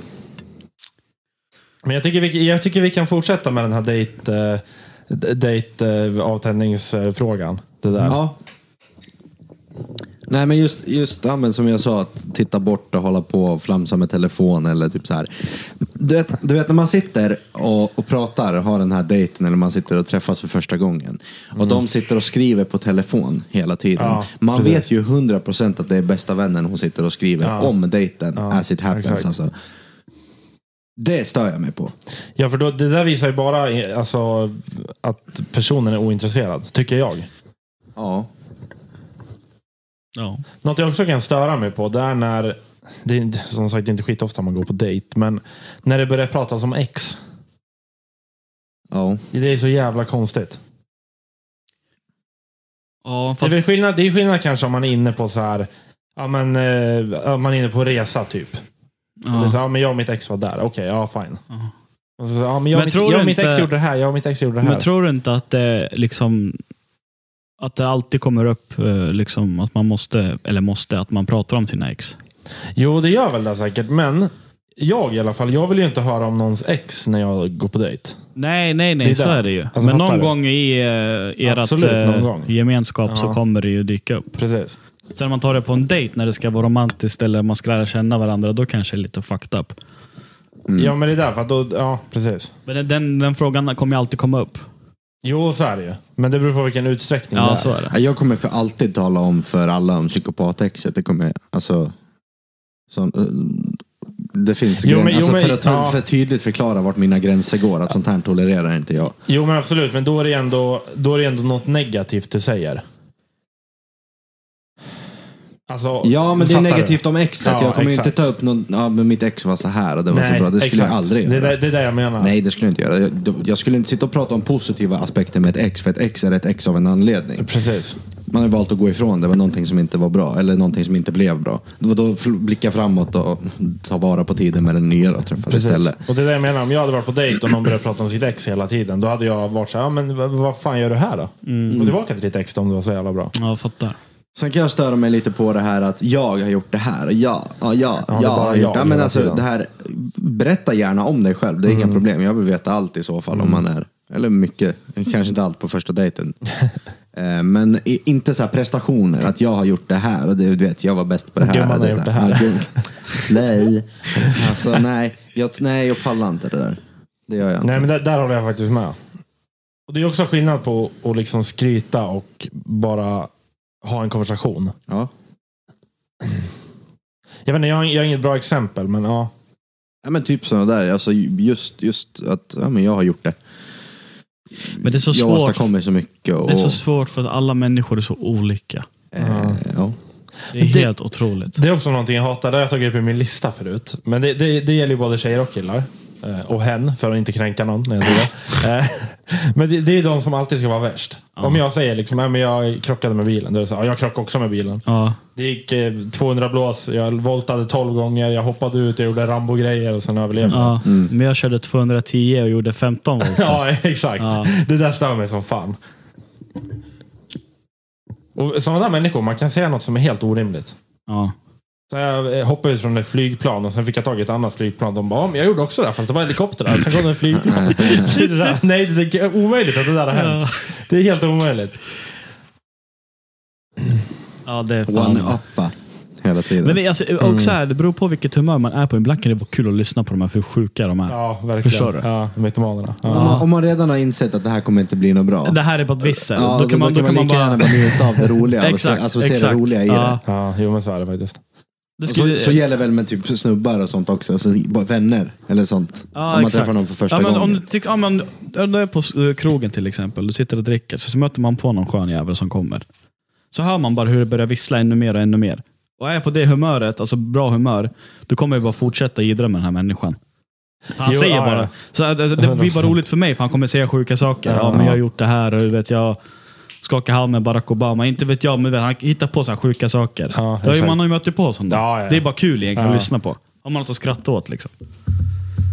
Men jag tycker, vi, jag tycker vi kan fortsätta med den här dejt, eh, d- dejt eh, avtändningsfrågan. Det där. Ja. Nej men just, just ja, men som jag sa, att titta bort och hålla på och flamsa med telefon eller typ så här. Du vet, du vet när man sitter och, och pratar, har den här dejten eller man sitter och träffas för första gången. Och de sitter och skriver på telefon hela tiden. Mm. Ja, man precis. vet ju 100% att det är bästa vännen hon sitter och skriver Ja. om dejten Ja, as it happens. exakt. Alltså. Det stör jag mig på. Ja, för då, det där visar ju bara eh, alltså, att personen är ointresserad, tycker jag. Ja. Ja. Något jag också kan störa mig på, det är när, det är inte- som sagt det är inte skitofta man går på dejt, men när det börjar pratas om ex. ja. Det är så jävla konstigt. Ja, Det är, fast... väl skillnad, det är skillnad kanske om man är inne på så här, ja men, eh, om man är inne på resa typ. Det är så, Ja. ja, men jag och mitt ex var där. Okej, ja fine. Ja. Och så, ja, men jag Men och mitt, tror jag du och mitt ex inte- gjorde det här. Jag och mitt ex gjorde det här. Men tror du inte att det liksom... Att det alltid kommer upp eh, liksom, att man måste, eller måste, att man pratar om sina ex? Jo, det gör väl det säkert. Men jag i alla fall, jag vill ju inte höra om någons ex när jag går på dejt. Nej, nej, nej. Det är så det. är det ju. Alltså, Men fattar någon du? gång i eh, ert Absolut, någon eh, gång. gemenskap Ja. så kommer det ju dyka upp. Precis. Sen om man tar det på en dejt när det ska vara romantiskt eller man ska lära känna varandra, då kanske det är lite fucked up. Mm. Mm. Ja, men det är därför att då, ja, precis. Men den, den frågan kommer ju alltid komma upp. Jo, så är det ju. Men det beror på vilken utsträckning det Ja, är. så är det. Ja, Jag kommer för alltid tala om för alla om psykopatexet. Det kommer, alltså... Sån, eh, det finns Jo, gränser. men- jo, alltså, men- för att ja. för att tydligt förklara vart mina gränser går. Att sånt här tolererar inte jag. Jo, men absolut. Men då är, det ändå, då är det ändå något negativt du säger. Alltså, Ja, men det är fattar du? negativt om exet. Ja, jag kommer ju inte exakt. ta upp någon, ja men mitt ex var så här och det var Nej, så bra. Det skulle exakt. jag aldrig det, göra. är- det är det jag menar. Nej, det skulle jag inte göra. Jag, jag skulle inte sitta och prata om positiva aspekter med ett ex, för ett ex är ett ex av en anledning. Precis. Man har ju valt att gå ifrån det, var någonting som inte var bra, eller någonting som inte blev bra. Då, då fl- blicka framåt och ta vara på tiden med den nya du har träffat istället. Och det är det jag menar. Om jag hade varit på dejt och någon började prata om sitt ex hela tiden, då hade jag varit så här, ja, men vad, vad fan gör du här då? Gå tillbaka till ditt ex då, om det var så jävla bra. Ja, jag fattar. Sen kan jag störa mig lite på det här att jag har gjort det här, och ja, ja, ja, det är jag bara har gjort jag det. Ja, men hela alltså tiden. Mm. det här, berätta gärna om dig själv, det är inga problem. Jag vill veta allt i så fall om man är, eller mycket, kanske inte allt på [laughs] första dejten. Eh, Men i- inte så här prestationer, att jag har gjort det här och det, du vet, jag var bäst på det här. Gumman har gjort det här. Ja, [laughs] gum- Slay. Alltså nej, jag, nej, jag pallar inte det där. Det gör jag inte. Nej, men där, där håller jag faktiskt med. Och Det är också skillnad på att liksom skryta och bara ha en konversation. Ja. Jag vet inte, jag har, jag har inget bra exempel, men ja. Ja, men typ sådana där, alltså just, just att ja, men jag har gjort det. Men det är så jag svårt. åstadkommer så mycket. Och, Det är så svårt för att alla människor är så olika. eh, ja. Det är Det- helt otroligt. Det är också någonting jag hatar. Det har jag tagit upp i min lista förut. Men det, det, det gäller ju både tjejer och killar. Eh, Och hen, för att inte kränka någon. När jag säger [laughs] det. Eh, men det, det är de som alltid ska vara värst. Om jag säger liksom, "Nej, men jag krockade med bilen. Då är det så, "Ja, jag krockade också med bilen. Ja. Det gick eh, 200 blås, jag voltade 12 gånger, jag hoppade ut, jag gjorde Rambo-grejer och sen överlevde jag. Ja, men jag körde 210 och gjorde 15 volt. [laughs] [laughs] Ja, exakt. Ja. Det där stör mig som fan. Och sådana där människor, man kan säga något som är helt orimligt. Ja. Så jag eh, hoppade ut från ett flygplan och sen fick jag tag i ett annat flygplan. De bara, "Ja, men jag gjorde också det här, fast det var helikopter där. Sen kom det en [laughs] flygplan. [laughs] Så det där, Nej, det är omöjligt att det där har hänt. Det är helt omöjligt. ja, det är fan. One-uppa hela tiden. Men det, är alltså, Mm. och så här, det beror på vilket humör man är på. Ibland kan det vara kul att lyssna på de här, för hur sjuka de är. Ja, verkligen. Förstår du? Ja, mytomanerna. Ja. om, man, om man redan har insett att det här kommer inte bli något bra. Det här är bara ett vissel. ja, då kan man, då kan man lika gärna bara... bara njuta av det roliga. och [laughs] Exakt, se, alltså se det exakt. roliga i Ja. ja, jo men så är det faktiskt. Det det. Och skulle, så, så gäller väl med typ snubbar och sånt också. Alltså, bara vänner eller sånt. Ja, om man exakt. träffar någon för första ja, men Om gången. du, tycker, ja, men, om du är på eh, krogen till exempel, du sitter och dricker, så, så möter man på någon skön jävel som kommer. Så hör man bara hur det börjar vissla ännu mer och ännu mer. Och är jag på det humöret, alltså bra humör, då kommer jag bara fortsätta idra med den här människan. Han Jo, säger ja, bara. ja. Så att, alltså, det blir [laughs] bara 100%. roligt för mig, för han kommer säga sjuka saker. Ja, men jag har gjort det här och du vet, jag skakar hand med Barack Obama. Inte vet jag, men du vet, han hittar på så här sjuka saker. Ja, det har ju, exakt. man har ju mött på sånt där. Ja, ja, ja. Det är bara kul egentligen Ja. att lyssna på. Har man något att skratta åt liksom.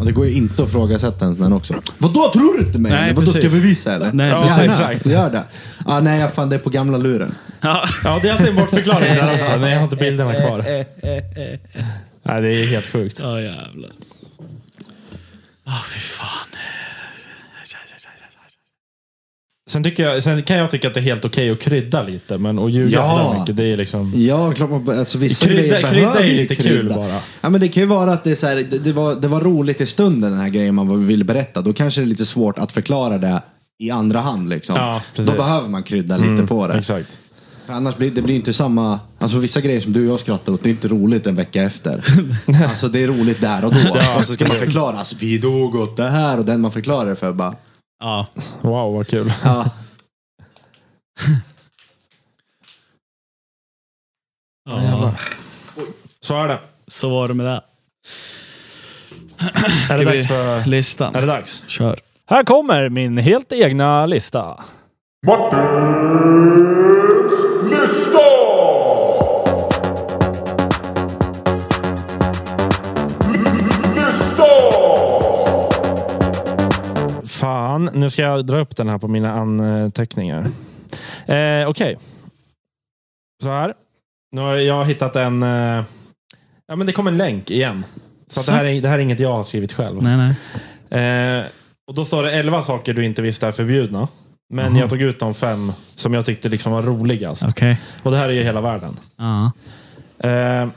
Och det går ju inte att ifrågasätta en sån här också. Vadå, tror du inte mig? Nej, Nej, Vadå, ska jag precis. bevisa eller? Nej, ja, precis. gärna. Exakt. Gör det. Ja, nej, jag fan det är på gamla luren. Ja. Ja, det är alltid en bortförklaring där också. Nej, jag har inte bilderna kvar. Nej, det är helt sjukt. [laughs] Ja, jävlar. Ah, fy fan. Sen, tycker jag, sen kan jag tycka att det är helt okej att krydda lite, men att ljuga Ja. sådär mycket, det är liksom... Ja, klart man, alltså vissa Krydda- grejer krydda behöver är ju lite kul bara. Ja, men det kan ju vara att det, är så här, det, det, var, det var roligt i stunden, den här grejen man ville berätta. Då kanske det är lite svårt att förklara det i andra hand. Liksom. Ja, precis. Mm, Då behöver man krydda lite på det. Exakt. För annars blir det blir inte samma... Alltså vissa grejer som du och jag skrattar åt, det är inte roligt en [laughs] vecka efter. alltså det är roligt där och då. och så ska man förklara, alltså, vi dog åt det här och den man förklarar det för bara... Ja. Wow, vad kul. Ja. ja. Så är det. Så var det med det. Är det, Ska vi- dags för, Listan. är det dags? Kör. Här kommer min helt egna lista. Fan, nu ska jag dra upp den här på mina anteckningar. Eh, Okej. Så här. Nu har jag hittat en... Eh, ja, men det kom en länk igen. Så att det, här är, det här är inget jag har skrivit själv. Nej, nej. Eh, och då står det 11 saker du inte visste är förbjudna. Men jag tog ut de fem som jag tyckte liksom var roligast. Okej. Och det här är ju hela världen. Ja. Eh,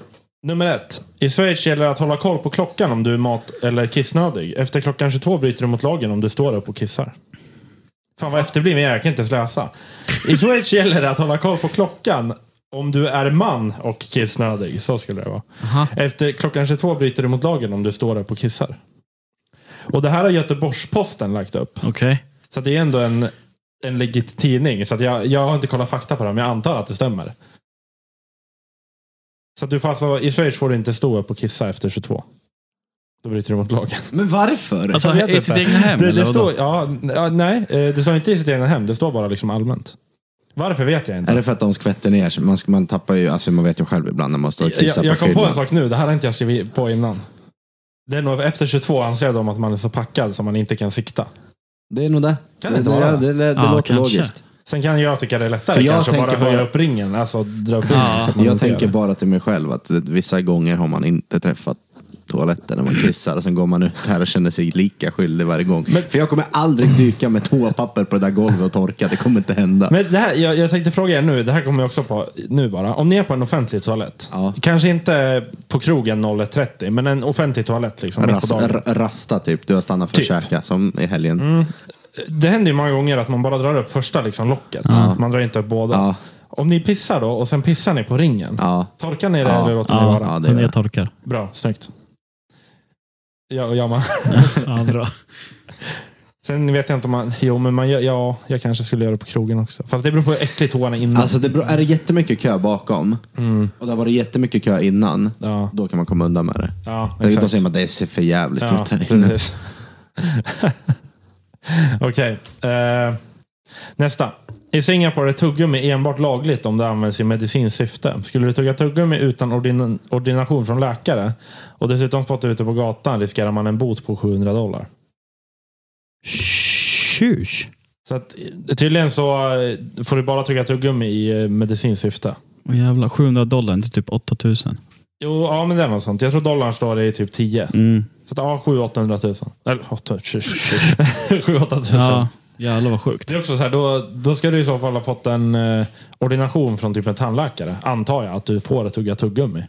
nummer ett. I Schweiz gäller det att hålla koll på klockan om du är mat eller kissnödig. Efter klockan 22 bryter du mot lagen om du står upp och kissar. Fan vad efterbliven jag är, jag kan inte ens läsa. I Schweiz gäller det att hålla koll på klockan om du är man och kissnödig. Så skulle det vara. Efter klockan 22 bryter du mot lagen om du står upp och kissar. Och det här har Göteborgs-Posten lagt upp. Okej. Så att det är ändå en, en legit tidning. Så att jag, jag har inte kollat fakta på det, men jag antar att det stämmer. Så att du får alltså, i Schweiz får du inte stå upp och kissa efter 22. Då bryter du mot [laughs] lagen. Men varför? Alltså Jag vet i inte. sitt egna hem Det, eller det vadå? står, ja, n- ja, nej, eh, det står inte i sitt egna hem. Det står bara liksom allmänt. Varför vet jag är inte. det för att de skvätter ner sig? Man, ska- man tappar ju, alltså man vet ju själv ibland när man står och kissar Jag, jag på kom på en fyllan. sak nu. Det här har inte jag skrivit på innan. Det är nog efter 22 anser de att man är så packad så man inte kan sikta. Det är nog det. Kan det inte det, vara det, det, det Ja, låter kanske. logiskt. Sen kan jag tycka det är lättare För jag kanske bara tänker höja bara- upp ringen. Alltså dra upp ringen. så att man Jag inte tänker gör det. bara till mig själv att vissa gånger har man inte träffat toaletten när man kissar och sen går man ut här och känner sig lika skyldig varje gång. För jag kommer aldrig dyka med toapapper på det där golvet och torka, det kommer inte hända. Men det här, jag, jag tänkte fråga er nu, det här kommer jag också på nu bara. Om ni är på en offentlig toalett, Ja. kanske inte på krogen 01.30, men en offentlig toalett liksom, mitt på Ras, dagen. r- rasta typ, du har stannat för att Typ. Mm. käka som i helgen. Det händer ju många gånger att man bara drar upp första liksom, locket. Man drar inte upp båda. Ja. Om ni pissar då och sen pissar ni på ringen, Ja. torkar ni det Ja. eller låter ni Ja, vara? Ja, det är men det. jag torkar. [laughs] Bra, snyggt. Ja, och jag med. Ja, bra. [laughs] Sen vet jag inte om man... Jo, men man gör, ja, jag kanske skulle göra det på krogen också. Fast det beror på hur äcklig toan är innan. Alltså det beror- är det jättemycket kö bakom och det har varit jättemycket kö innan, ja, då kan man komma undan med det. ja, Exakt. Då exakt. säger man att det ser för jävligt Ja, ut här inne. precis. [laughs] Okej. eh, nästa. I Singapore är tuggummi enbart lagligt om det används i medicinskt syfte. Skulle du tugga tuggummi utan ordin ordination från läkare och dessutom spotta ute på gatan riskerar man en bot på 700 dollar. Tjus. Så att, eh, tydligen så eh, får du bara tugga tuggummi i eh, medicinskt syfte. Åh jävlar, 700 dollar, inte typ 8000. Jo, ja men det är något sånt. Jag tror dollarn står i typ 10. Mm. Så att, ja, 700-800 tusen. Eller [laughs] 7-8 tusen. Ja, jävlar vad sjukt. Det är också så här, då, då ska du i så fall ha fått en eh, ordination från typ en tandläkare. Antar jag att du får ett tugga tuggummi.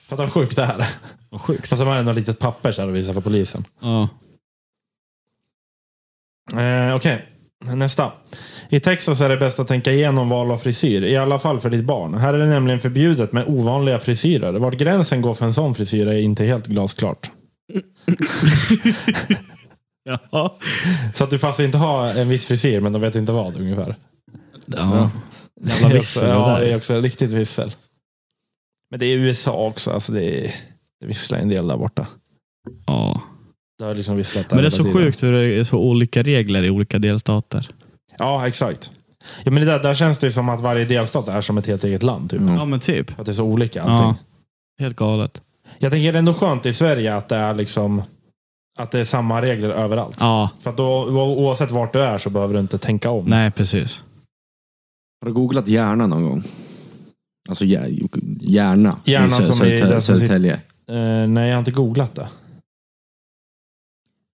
Fattar vad sjukt det här är. Vad sjukt. Och så har man ändå ett litet papper så här att visa för polisen. Ja. Eh, Okej, nästa. I Texas är det bäst att tänka igenom val av frisyr. I alla fall för ditt barn. Här är det nämligen förbjudet med ovanliga frisyrer. Vart gränsen går för en sån frisyr är inte helt glasklart. Ja. Så att du får alltså inte ha en viss frisyr, men de vet inte vad ungefär. ja. Jävla vissel det Ja, där. det är också riktigt vissel. Men det är USA också. Alltså det, är, det visslar en del där borta. Det har liksom visslat där Men det är hela så tiden. sjukt hur det är så olika regler i olika delstater. Ja, exakt. Ja, men det där, där känns det ju som att varje delstat är som ett helt eget land. Typ. Mm. Ja men typ. Att det är så olika allting. Helt galet. Jag tänker det är ändå skönt i Sverige att det är liksom att det är samma regler överallt. Ja, För att då, o- oavsett vart du är så behöver du inte tänka om. nej precis. Har du googlat hjärna någon gång? Alltså hjär- hjärna. Hjärna Sö- som i Södertälje- den som sitter- Södertälje. Eh, nej, jag har inte googlat det.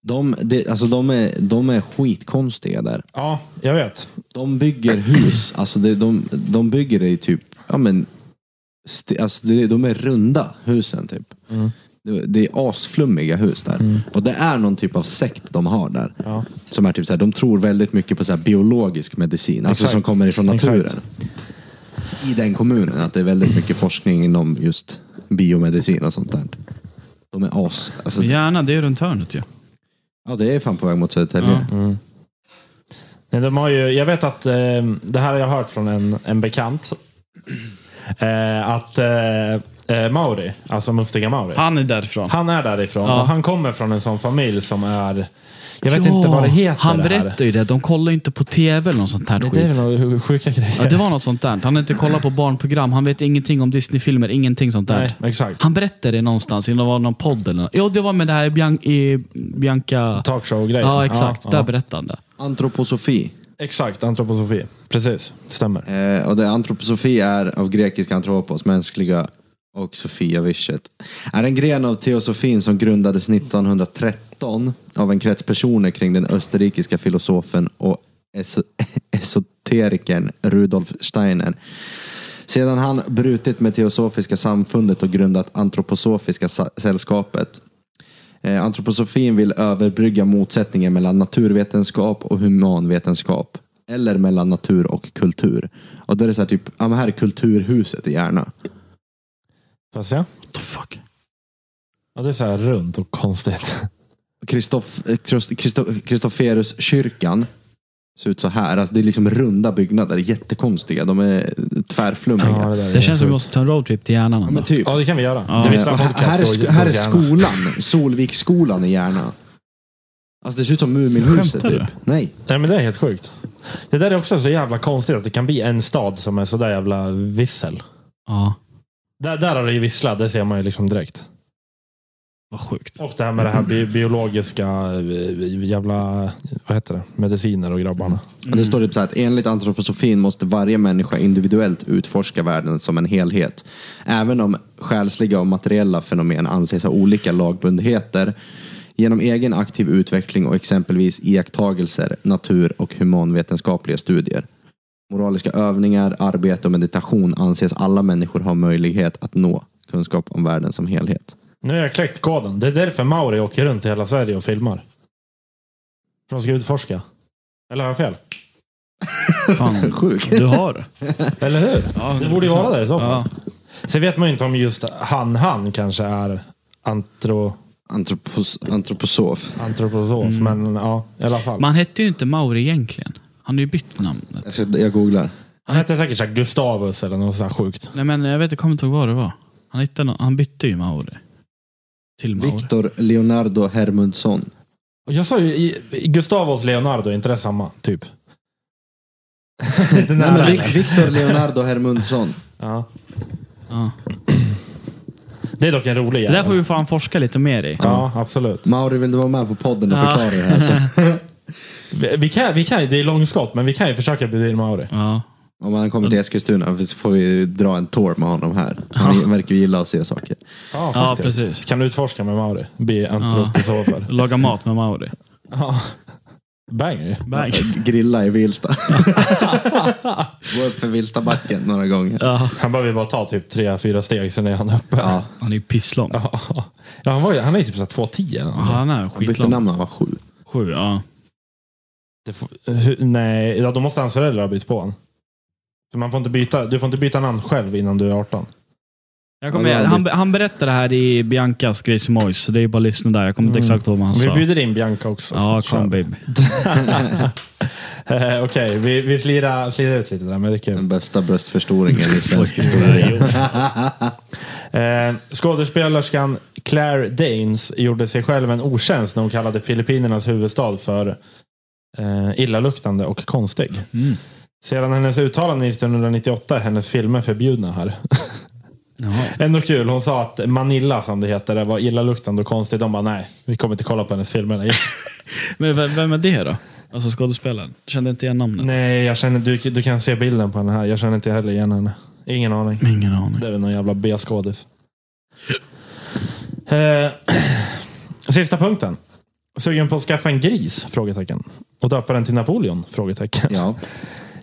De, det- alltså de, är, de är skitkonstiga där. Ja, jag vet. De bygger hus, [clears throat] alltså det, de, de bygger det i typ, ja men, st- alltså det, de är runda husen typ. Mm. Det, det är asflummiga hus där. Och det är någon typ av sekt de har där. Ja. Som är typ så här, de tror väldigt mycket på så här biologisk medicin, alltså Exakt. som kommer ifrån naturen. Exakt. I den kommunen, att det är väldigt mycket forskning inom just biomedicin och sånt där. De är as... Alltså, Men Gärna, det är ju runt hörnet ju. ja, det är fan på väg mot Södertälje. Mm. Nej, de har ju, jag vet att, eh, det här har jag hört från en, en bekant. [clears throat] Eh, att eh, eh, Mauri, alltså mustiga Mauri, Han är därifrån. han är därifrån. Ja. Och han kommer från en sån familj som är, jag vet inte vad det heter. Han det här. berättar ju det. De kollar ju inte på tv eller något sånt här Nej, skit. det är väl några sjuka grejer. Ja, det var något sånt där. Han har inte kollat på barnprogram. Han vet ingenting om Disney-filmer. Ingenting sånt där. Nej, exakt. Han berättade det någonstans. Det var någon podd eller något. Jo, det var med det här Bian i Bianca... Talkshow-grejer. Ja, exakt. Ja, Där ja. berättade han det. Antroposofi. Exakt, antroposofi. Precis, stämmer. Eh, och det, antroposofi är av grekiska antropos, mänskliga, och Sofia Vichet. Är en gren av teosofin som grundades 1913 av en krets personer kring den österrikiska filosofen och eso- [laughs] esoterikern Rudolf Steiner. Sedan han brutit med Teosofiska samfundet och grundat Antroposofiska sa- sällskapet Eh, antroposofin vill överbrygga motsättningen mellan naturvetenskap och humanvetenskap. Eller mellan natur och kultur. Och då är det så här, typ, ja men här är kulturhuset i Järna. Får jag se? What the fuck? Ja, det är så här runt och konstigt. Kristoff- eh, Krist- Kristo- Kristofferuskyrkan ser ut så här. Alltså, det är liksom runda byggnader, jättekonstiga. De är tvärflummiga. [laughs] Ja, det, där är Det känns som vi sjukt. måste ta en roadtrip till hjärnan. Ja, ändå. men typ. Ja, det kan vi göra. Ja. Det vi Eh, visar och här, här är, podcast och sk- här är YouTube-hjärna. skolan, Solviksskolan i Järna. Alltså det ser ut som Muminhuset Skämtar typ. Nej. Nej, men det är helt sjukt. Det där är också så jävla konstigt att det kan bli en stad som är så där jävla vissel. Ja, Där, där har det ju visslat, det ser man ju liksom direkt. vad [laughs] sjukt. Och det här med det här bi biologiska eh, jävla, vad heter det, mediciner och grabbarna. Och Det står typ så här att enligt antroposofin måste varje människa individuellt utforska världen som en helhet. Även om själsliga och materiella fenomen anses ha olika lagbundenheter. Genom egen aktiv utveckling och exempelvis iakttagelser, natur och humanvetenskapliga studier. Moraliska övningar, arbete och meditation anses alla människor ha möjlighet att nå kunskap om världen som helhet. Nu har jag kläckt koden. Det är därför Mauri åker runt i hela Sverige och filmar. För de ska utforska. Eller har jag fel? [laughs] Fan, Sjukt. du har det. Eller hur? det borde ju vara det i så fall. Ja. Sen vet man ju inte om just han, han kanske är antro, Antropos, antroposof. antroposof. Men ja, i alla fall. Man hette ju inte Mauri egentligen. Han har ju bytt namnet. Jag, ska, jag googlar. Han hette säkert så här Gustavus eller något sånt här sjukt. Nej men jag vet, jag kommer inte ihåg vad det var. Han, hittade någon, han bytte ju Mauri. Till Mauri. Viktor Leonardo Hermundsson. Och Jag sa ju i- i Gustavus Leonardo, inte det samma? Typ. [laughs] Den Nej, där- men Vic- Victor Leonardo Hermundsson. ja. Ja. Det är dock en rolig Det där får jävel. vi fan forska lite mer i. Ja, absolut. Mauri, vill du vara med på podden och Ja. förklara det här? Så, Vi, vi kan, vi kan, det är långskott, men vi kan ju försöka bjuda in Mauri. Ja. om han kommer till Eskilstuna så får vi dra en tour med honom här. Han verkar ju gilla att se saker. Ja, Ja, faktiskt. precis. Kan utforska med Mauri. Bli antroposofer. Laga mat med Mauri. Ja. Banger ju. Bang. Grilla i Vilsta. Gå upp för Vilstabacken några gånger. Ja. Han behöver ju bara ta typ tre, fyra steg, sen är han uppe. Ja. Han är ju pisslång. Ja. Ja. Ja, han, var ju, han är ju typ såhär 2,10. eller något. Han är Han bytte skitlång. namn när han var sju. Sju, ja. Det får- hur- Nej, ja, då måste hans föräldrar ha bytt på honom. För man får inte byta, du får inte byta namn själv innan du är 18. Jag kommer, han, han berättar det här i Biancas Grace Moise, så det är bara att lyssna där. Jag kommer inte exakt ihåg vad han Vi sa. bjuder in Bianca också. Alltså. Ja, så kör kom vi. babe. Eh, [laughs] Okej, vi, vi slirar, slirar ut lite där, men det är kul. Den bästa bröstförstoringen i svensk historia. [laughs] Eh, skådespelerskan Claire Danes gjorde sig själv en otjänst när hon kallade Filippinernas huvudstad för eh, illaluktande och konstig. Mm. Sedan hennes uttalande 1998 är hennes filmer förbjudna här. Ändå kul. Hon sa att Manila, som det heter, det var illaluktande och konstigt. De bara, nej, vi kommer inte kolla på hennes filmer längre. Men vem, vem är det då? Alltså skådespelaren? Kände inte igen [laughs] namnet. nej, jag känner, du, du kan se bilden på henne här. Jag känner inte heller igen henne. Ingen aning. Ingen aning. Det är väl någon jävla B-skådis. Eh, [clears throat] sista punkten. Sugen på att skaffa en gris? Frågetecken. Och döpa den till Napoleon? Frågetecken. Ja, [laughs]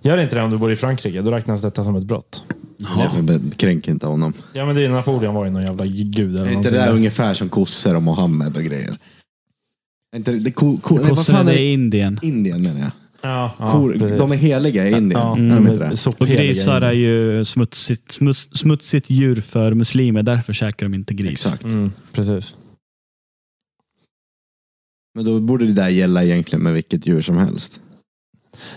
Gör inte det om du bor i Frankrike. Då räknas detta som ett brott. Nej, men kränk inte honom. Ja, men det är ju Napoleon var ju någon jävla gud eller Är inte någonting. det där ungefär som kossor och Mohammed och grejer? Är inte det, det ko, ko, nej, vad Kossorna fan det är är i Indien. Indien menar jag. Ja, ja, Kor, precis. de är heliga i Indien. Ja, Mm. är de inte det? Och sopheliga grisar grejer. är ju smutsigt, smuts, smutsigt djur för muslimer, därför käkar de inte gris. Exakt. Mm, precis. Men då borde det där gälla egentligen med vilket djur som helst.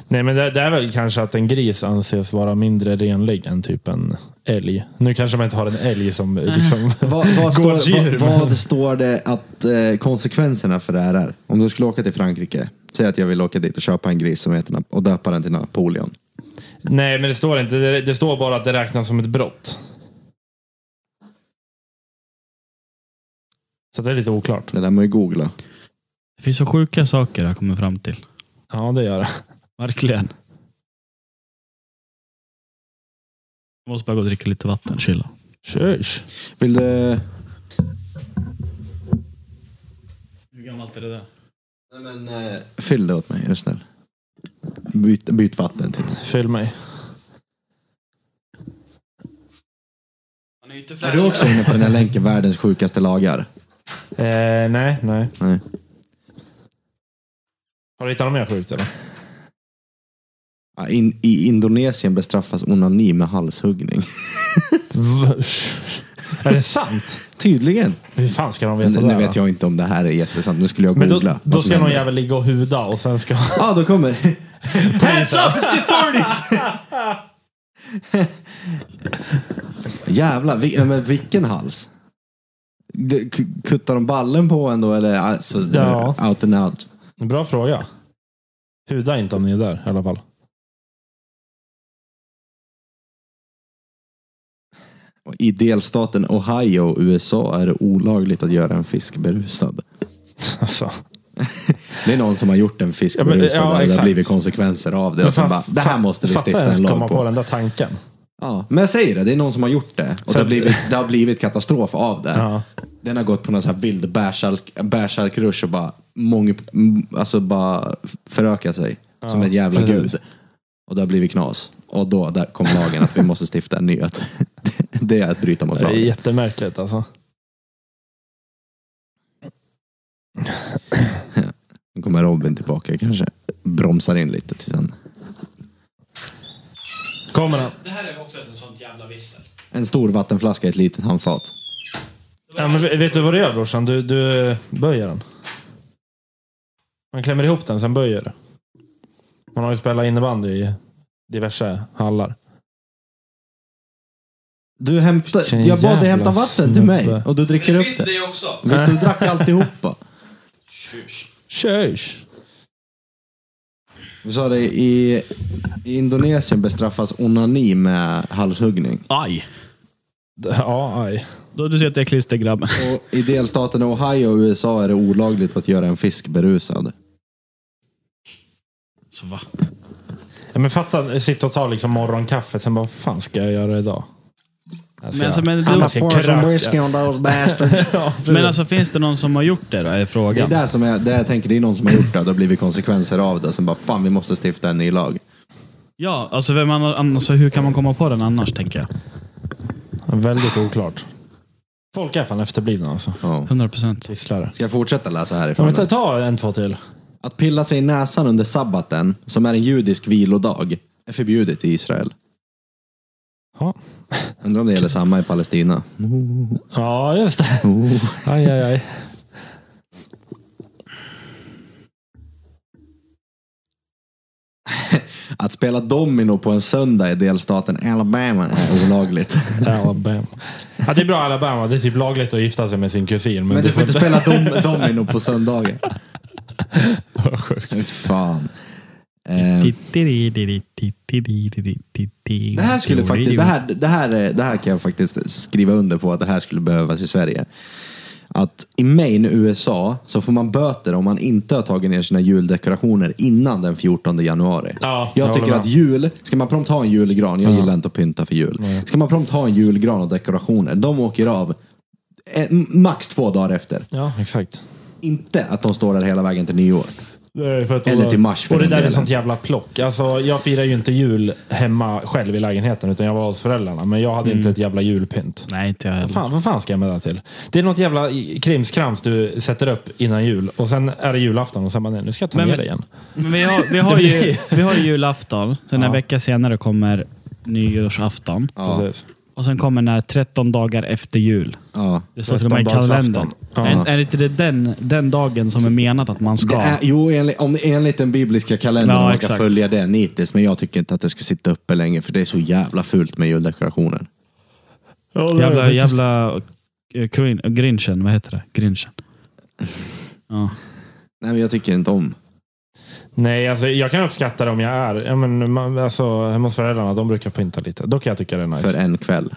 Nej, men det, det är väl kanske att en gris anses vara mindre renlig än typ en älg. Nu kanske man inte har en älg som liksom... Vad, vad, står, Gårdsdjur, vad, vad står det att eh, konsekvenserna för det här är? Om du skulle åka till Frankrike, säg att jag vill åka dit och köpa en gris som heter Nap- och döpa den till Napoleon. Nej, men det står inte. Det, det står bara att det räknas som ett brott. Så det är lite oklart. Det där må ju googla. Det finns så sjuka saker jag kommer fram till. Ja, det gör det. Verkligen. Jag måste bara gå och dricka lite vatten, chilla. Tjus. Vill du... Hur gammalt är det där? Nej, men, eh, fyll det åt mig, är du snäll. Byt, byt vatten till. Fyll mig. Han är ju inte Är du också inne på den här länken, världens sjukaste lagar? Eh, nej, nej. Nej. Har du hittat något mer sjukt eller? Ja, In, I Indonesien bestraffas onani med halshuggning. är det sant? Tydligen. Hur fan ska de veta Men det? Nu här, vet då? jag inte om det här är jättesant. Nu skulle jag Men då, googla. då ska någon jävel ligga och huda och sen ska... Ja, ah, då kommer... Hands up, it's the [laughs] 30s! Jävlar, vi, ja, men vilken hals. Det- k- Kuttar de ballen på en då eller alltså, Ja. out and out? [laughs] Bra fråga. Huda inte om ni är där i alla fall. Och I delstaten Ohio, USA är det olagligt att göra en fisk berusad. [laughs] Alltså. Det är någon som har gjort en fisk Ja, men- berusad ja, och det har exakt. blivit konsekvenser av det. Och sen bara, det här måste vi fatta stifta ens en komma lag på. på. den där tanken. Ja, men jag säger det, det är någon som har gjort det. Och Så- det har blivit, det har blivit katastrof av det. Ja. Den har gått på någon så här vild bärsärk- bärsärkrush och bara, många, m- alltså bara förökat sig. som en jävla precis. gud. Och det har blivit knas. Och då där kom lagen att vi måste stifta en ny. Att [laughs] det är att bryta mot Det är lagen. jättemärkligt alltså. Nu kommer Robin tillbaka kanske. Bromsar in lite till den. Kommer han? Det här är också ett sånt jävla vissel. En stor vattenflaska i ett litet handfat. Ja, men vet du vad du gör brorsan? Du, du böjer den. Man klämmer ihop den, sen böjer du. Man har ju spelat innebandy i diverse hallar. Du hämtar, Vilken jag bad dig jävla hämta vatten till snubbe. mig och du dricker upp det. ju också. Du, du drack alltihopa. Tjöjs! Du sa det, i, i Indonesien bestraffas onani med halshuggning. Aj! Ja, aj. Då du ser att jag är klistergrabb. Och I delstaten Ohio och USA är det olagligt att göra en fisk berusad. Så va? Ja, men fatta, sitta och ta liksom morgonkaffe, sen bara, vad fan ska jag göra idag? Alltså, Men jag- så- men du- Fan, jag ska kröka. on those bastards. [laughs] Ja, Men alltså finns det någon som har gjort det då? Är Det är frågan. där som jag, det jag tänker, det är någon som har gjort det och det har blivit konsekvenser av det. Som bara, fan vi måste stifta en ny lag. Ja, alltså, vem annan, alltså hur kan man komma på den annars tänker jag? Väldigt oklart. Folk är fan efterblivna alltså. Ja. 100%. Visslare. Ska jag fortsätta läsa Ja, härifrån? men ta, ta en, två till. Att pilla sig i näsan under sabbaten, som är en judisk vilodag, är förbjudet i Israel. Ja, Undrar om det gäller samma i Palestina. ja just det. Aj, aj, aj. Att spela domino på en söndag i delstaten Alabama är olagligt. Alabama. Ja, det är bra Alabama. Det är typ lagligt att gifta sig med sin kusin. Men, Men du får inte spela dom, domino på [laughs] söndagar. Vad sjukt. Fy fan. Eh, Det här skulle faktiskt, det här, det, här, är- det här kan jag faktiskt skriva under på att det här skulle behövas i Sverige. Att i Maine, USA, så får man böter om man inte har tagit ner sina juldekorationer innan den 14 januari. Ja, jag jag håller tycker med. att jul, ska man prompt ha en julgran, jag gillar inte att pynta för jul. Ska man prompt ha en julgran och dekorationer, de åker av eh, max två dagar efter. Ja, exakt. Inte att de står där hela vägen till nyår. För att Eller till mars för Och det den där är delen. sånt jävla plock. Alltså, jag firar ju inte jul hemma själv i lägenheten, utan jag var hos föräldrarna. Men jag hade inte ett jävla julpynt. Nej, inte jag heller. Fan, vad fan ska jag med det här till? Det är något jävla i- krimskrams du sätter upp innan jul och sen är det julafton och sen bara, nej, nu ska jag ta Men- ner det igen. Men vi har, vi har, Det blir- ju, vi har ju julafton, sen Ja. en vecka senare kommer nyårsafton. Precis. Och sen kommer den här 13 dagar efter jul. Ja. Det står till och med i 13-dagsafton. kalendern. Ja. Är, är inte det den, den dagen som är menat att man Det ska? är, jo, enligt, om, enligt den bibliska kalendern, Ja, om man ska exakt. följa den nitiskt. Men jag tycker inte att det ska sitta uppe länge, för det är så jävla fult med juldekorationer. Jävla, jävla eh, grin, grinchen, vad heter det? Grinchen. Ja. Nej, men jag tycker inte om. Nej, alltså, jag kan uppskatta det om jag är ja, men, man, alltså, hemma hos föräldrarna. De brukar pynta lite. Då kan jag tycka det är nice. För en kväll.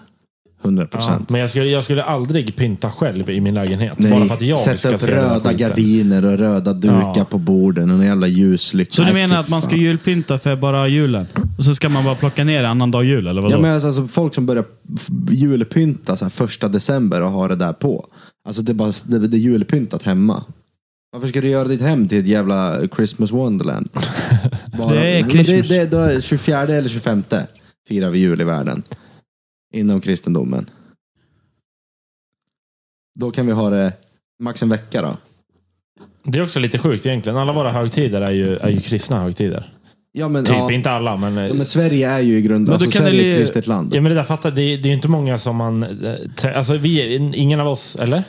100 Ja, procent. men jag skulle, jag skulle aldrig pynta själv i min lägenhet. bara för att jag ska sätta upp se den här röda skiten. gardiner och röda dukar Ja. på borden och en jävla ljuslykta. Så Nej, du menar fy att man ska fan. julpynta för bara julen? Och sen ska man bara plocka ner det annan dag jul, eller vadå? Ja, men alltså, folk som börjar f- julpynta så här, första december och har det där på. Alltså det är, bara, det, det är julpyntat hemma. Varför ska du göra ditt hem till ett jävla Christmas [laughs] Wonderland? Bara, Det är men Christmas. Det, det, då är det 24 eller 25 firar vi jul i världen. Inom kristendomen. Då kan vi ha det max en vecka då. Det är också lite sjukt egentligen. Alla våra högtider är ju, är ju kristna högtider. Ja, men, Typ, ja. inte alla, men... eh, Ja, men Sverige är ju i grunden, Men du alltså, kan Sverige är ett väl- kristet land. Ja, men det där fattar, det, det är ju inte många som man... eh, trä- Alltså, vi, ingen av oss, eller?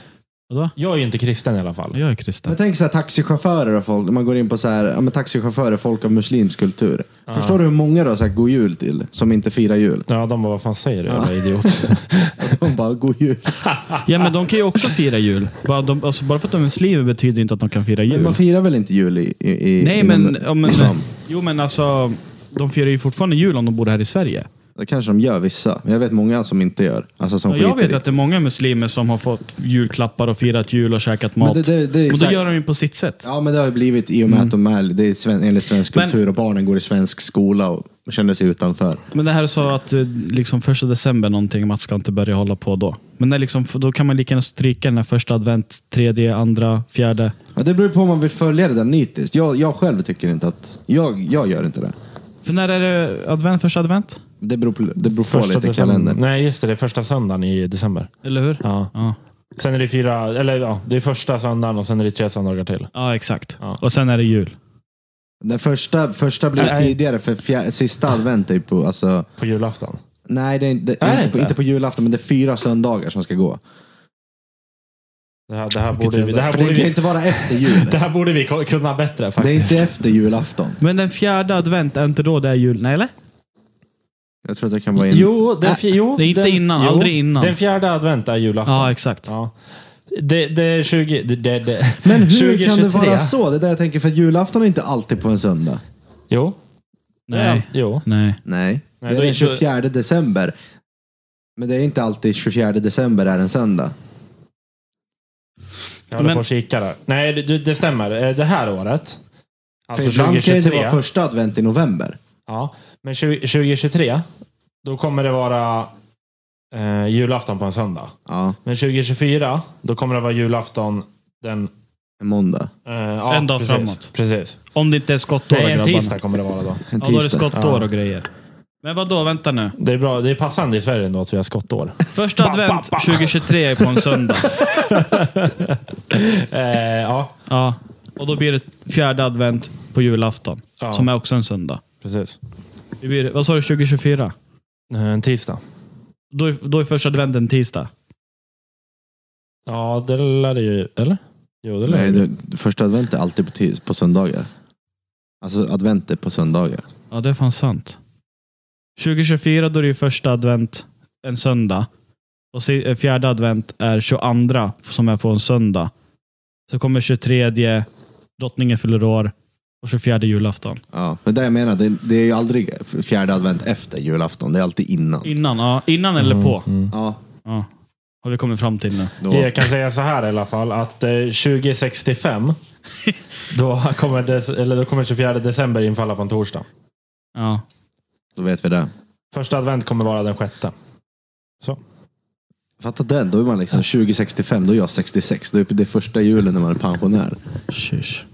Vadå? Jag är ju inte kristen i alla fall. Jag är kristen. Men tänk så här taxichaufförer och folk, när man går in på så här, ja, men taxichaufförer, folk av muslimsk kultur. Förstår du hur många då så här, god jul till, som inte firar [laughs] jul? Ja, de bara, vad fan säger du, jävla [laughs] idiot? De bara, god jul. Ja, men de kan ju också fira jul. Bara, de, alltså, bara för att de är muslimer betyder inte att de kan fira Men jul. man firar väl inte jul liksom- i, i, i Nej, inom men, ja, men, islam? jo, men alltså, de firar ju fortfarande jul om de bor här i Sverige. Det kanske de gör vissa. Men Jag vet många som inte gör. Alltså som Ja, jag skiter vet i. att det är många muslimer som har fått julklappar och firat jul och käkat mat. Men det- det- det är och då exakt- gör de ju på sitt sätt. Ja, men det har ju blivit i och med att de är, det är sven, enligt svensk Mm. Men- kultur och barnen går i svensk skola och känner sig utanför. Men det här sa att eh, liksom första december någonting, man ska inte börja hålla på då. Men det är liksom, då kan man lika gärna stryka den här första advent, tredje, andra, fjärde. Ja, det beror på om man vill följa det där nitiskt. Jag, jag själv tycker inte att... Jag, jag gör inte det. För när är det advent, första advent? Det beror på, det beror på lite december. kalendern. Nej, just det. Det är första söndagen i december. Eller hur? Ja. Ja, Sen är det fyra, eller ja, det är första söndagen och sen är det tre söndagar till. ja exakt. Ja. Och sen är det jul. Den första, första blir Nej. tidigare, för fjär, sista advent är ju på... Alltså, På julafton. nej, det är, inte- Är det inte, på, inte? inte på julafton, men det är fyra söndagar som ska gå. Det här, det här, borde, vi, det här, För borde, det kan ju vi, inte vara efter jul. det här borde vi ko- kunna bättre Det är faktiskt. inte efter julafton. Men den fjärde advent, är inte då det är jul? Nej, eller? Jag tror att det kan vara in... Jo, den, fj- jo, Det är inte den, innan, jo, aldrig innan. Den fjärde advent är julafton. Ja, exakt. Ja. Det, det är 20... Det, det, det. Men hur 2023? kan det vara så? Det är där jag tänker, för att julafton är inte alltid på en söndag. Jo. Nej. Ja, jo. Nej. Nej, Nej, då det är är den inte- 24 december. Men det är inte alltid 24 december är en söndag. Jag håller Men- på att kika där. Nej, det- det, det stämmer. Eh, Det här året. Alltså för ibland kan ju det 2023. vara första advent i november. Ja, men 20, 2023. Då kommer det vara eh, julafton på en söndag. Ja, Men 2024, då kommer det vara julafton den... en måndag. Eh, ja, En dag precis, framåt. Precis. Om det inte är skottår, Nej, en grabbarna. tisdag kommer det vara då. En Ja, då är det tisdag. skottår Ja. och grejer. Men vad då vänta nu. Det är, bra, det är passande i Sverige ändå att vi har [laughs] skottår. Första Ba, ba, advent ba. 2023 är på en [laughs] söndag. Eh, ja, Ja. Och då blir det fjärde advent på julafton, Ja. som är också en söndag. precis. Det blir, vad sa du, 2024? Eh, En tisdag. Då är, då är första advent en tisdag. Ja, det lär det ju... Eller? Jo, det lär Nej, det ju. det, första advent är alltid på, tis, på söndagar. Alltså advent är på söndagar. Ja, det är fan sant. 2024 då är det ju första advent en söndag. Och se- eh, fjärde advent är 22 som är på en söndag. Så kommer 23, drottningen fyller år och 24 julafton. Ja, men det jag menar, det, det är ju aldrig fjärde advent efter julafton. Det är alltid innan. Innan, ja, innan eller på Ja, ja, har vi kommit fram till nu. då. Jag kan säga så här i alla fall att eh, [laughs] 2065 då kommer, dec- eller då kommer 24 december infalla på en torsdag. Ja. då vet vi det. Första advent kommer vara den sjätte. Fatta den, då är man liksom 2065, då är jag 66. Då är det första julen när man är pensionär. Shish.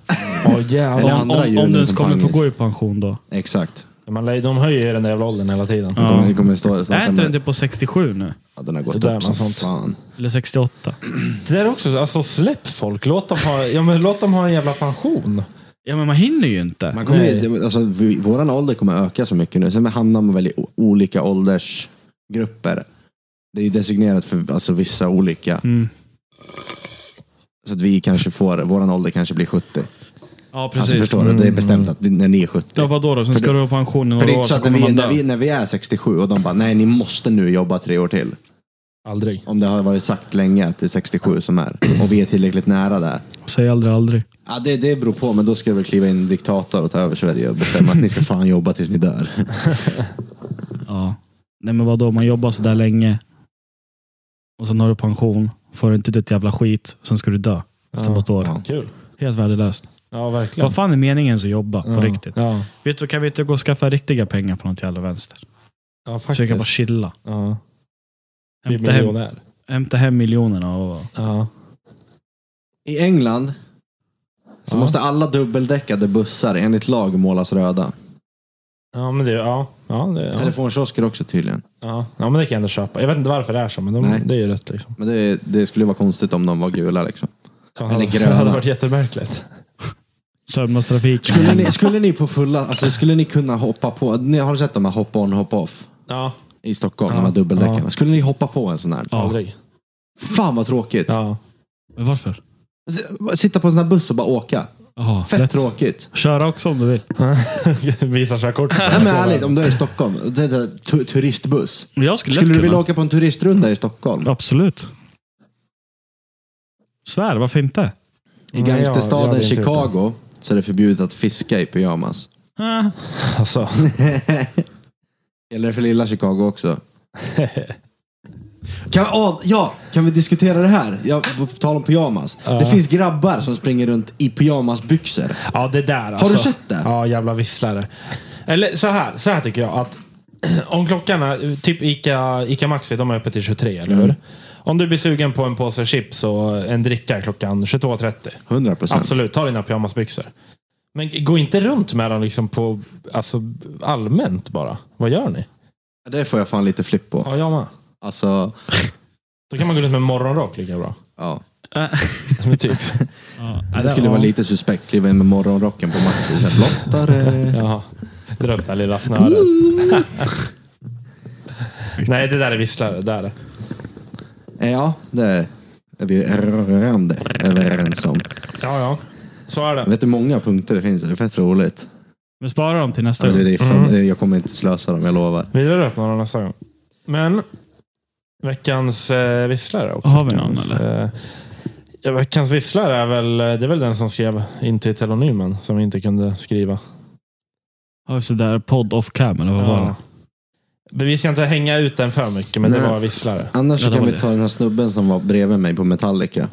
Oh, Eller Om, andra om, julen om du ens som kommer få pangis. gå i pension då. Exakt. Man, lä- de höjer ju den där jävla åldern hela tiden. Mm. Vi kommer, vi kommer stå Är snacka inte den med... typ på 67 nu? Ja, den har Det gått där upp är som något sånt. fan. Eller 68? Det där är också, så- alltså släpp folk. Låt dem ha, ja, men låt dem ha en jävla pension. Ja, men man hinner ju inte. Man kommer, Nej. ju- alltså, vi, våran ålder kommer öka så mycket nu. Sen hamnar man väl i o- olika åldersgrupper. Det är ju designerat för alltså, vissa olika. Mm. Så att vi kanske får, våran ålder kanske blir 70. Ja, Alltså, precis. Mm. förstår du? Det är bestämt att när ni är 70. Ja, vadå då? Sen För ska det- du vara pension i För det är några år, inte så så att när kommer vi, man när, dö. vi, när vi är 67 och de bara, nej ni måste nu jobba tre år till. Aldrig. Om det har varit sagt länge att det är 67 som är. Och vi är tillräckligt nära där. Säg aldrig aldrig. Ja, det, det beror på, men då ska det väl kliva in en diktator och ta över Sverige och bestämma att ni ska fan jobba tills ni dör. Ja. Nej men vadå, man jobbar sådär länge. Och sen har du pension, får inte ut ett jävla skit, sen ska du dö. Efter Ja, något år. Kul. Helt värdelöst. Ja, verkligen. Vad fan är meningen att jobba på ja. riktigt? Ja, Vet du, kan vi inte gå och skaffa riktiga pengar på något jävla vänster? ja Försöka bara faktiskt. chilla. Ja. Bli Hämta hem, miljonär. hämta hem miljonerna och... Ja. I England så Ja. måste alla dubbeldäckade bussar enligt lag målas röda. Ja, men det, ja. Ja, det, ja. Telefonkiosker också tydligen. Ja. ja, men det kan jag ändå köpa. Jag vet inte varför det är så, men de, Nej. det är ju rätt. Liksom. Men det, det skulle ju vara konstigt om de var gula liksom. Ja, Eller [laughs] Det hade gröna. varit jättemärkligt. Sörmlandstrafiken. Skulle ni, skulle ni på fulla, alltså skulle ni kunna hoppa på, ni har sett de här hop on hop off Ja, i Stockholm, Ja. de här dubbeldäckarna. Skulle ni hoppa på en sån här? aldrig. Fan vad tråkigt. Ja. [laughs] Men Varför? S- Sitta på en sån här buss och bara åka. Jaha, Fett lätt. tråkigt. Köra också om du vill. Visa körkort. Nej men ärligt, om du är i Stockholm, det är en tu- turistbuss. Jag skulle, Skulle lätt du vilja kunna. åka på en turistrunda i Stockholm? Absolut. Svär, varför inte? I Nej, jag- jag hade gangsterstaden inte gjort Chicago så är det förbjudet att fiska i pyjamas. Alltså. Gäller det för lilla Chicago också? [laughs] Kan, åh, ja, kan vi diskutera det här? Jag, på tal om pyjamas. Det finns grabbar som springer runt i pyjamasbyxor. Ja, det där alltså. du sett det? Ja, jävla visslare. Eller så här, så här tycker jag att [clears throat] om klockan är, typ Ica, Ica Maxi, de är öppet till 23, eller Mm. hur? Om du blir sugen på en påse chips och en dricka klockan 22.30, 100 procent. absolut, ta dina pyjamasbyxor. Men gå inte runt med dem liksom på, alltså, allmänt bara. Vad gör ni? Det får jag fan lite flipp på. Ja, jag med. Alltså, Då kan man gå runt med morgonrock lika [laughs] bra. ja. Men typ. Det skulle vara lite suspekt. Kliva in med morgonrocken på [laughs] Maxi. Så här, Blottare. Jaha. Dra upp det här lilla [laughs] snöret. Nej, det där är visslare. Det där är det. Eh, Ja, det är vi rörande överens om. Ja, ja. Så är det. Jag vet hur många punkter det finns. Det är fett roligt. Men spara dem till nästa Ja, Mm. det gång. är fan, Jag kommer inte slösa dem, jag lovar. Vi drar upp några nästa gång. Men veckans eh, visslare också. Har vi någon, eller? Eh, ja, veckans visslare är väl, eh, det är väl den som skrev in till telonymen som vi inte kunde skriva. Har vi sådär podd off cam eller vad var det? Men Vi ska inte hänga ut den för mycket, men det Nej. var visslare. Annars så Ja, det kan var vi det. ta den här snubben som var bredvid mig på Metallica.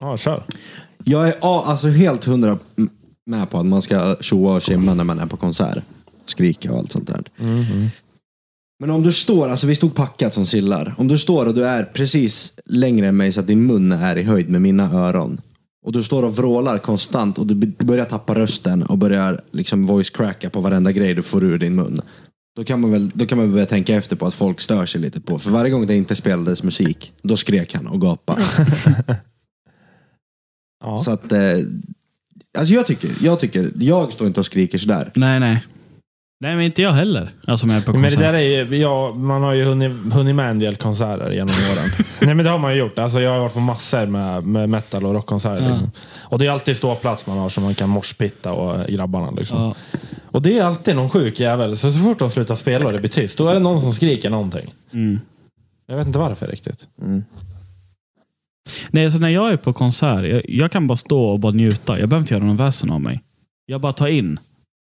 Ja, kör. Jag är ja, alltså helt hundra m- med på att man ska tjoa och tjimma när man är på konsert. Skrika och allt sånt där. Mm-hmm. Men om du står, alltså vi stod packat som sillar. Om du står och du är precis längre än mig så att din mun är i höjd med mina öron. Och du står och vrålar konstant och du b- börjar tappa rösten och börjar liksom voice cracka på varenda grej du får ur din mun. Då kan, man väl, då kan man börja tänka efter på att folk stör sig lite på. För varje gång det inte spelades musik, då skrek han och gapade. Ja. Så att, eh, alltså jag tycker, jag tycker, jag står inte och skriker sådär. Nej, nej. Nej, men inte jag heller. Alltså, men jag är på Men det konsert. där är ju, ja, man har ju hunnit, hunnit med en del konserter genom åren. Nej men det har man ju gjort. Alltså, jag har varit på massor med, med metal och rockkonserter. liksom. Och det är alltid ståplats man har som man kan morspitta och grabbarna. Liksom. Ja. Och det är alltid någon sjuk jävel. Så, så fort de slutar spela och det blir tyst, då är det någon som skriker någonting. Mm. Jag vet inte varför riktigt. Nej, så när jag är på konsert, jag, jag kan bara stå och bara njuta. Jag behöver inte göra någon väsen av mig. Jag bara tar in.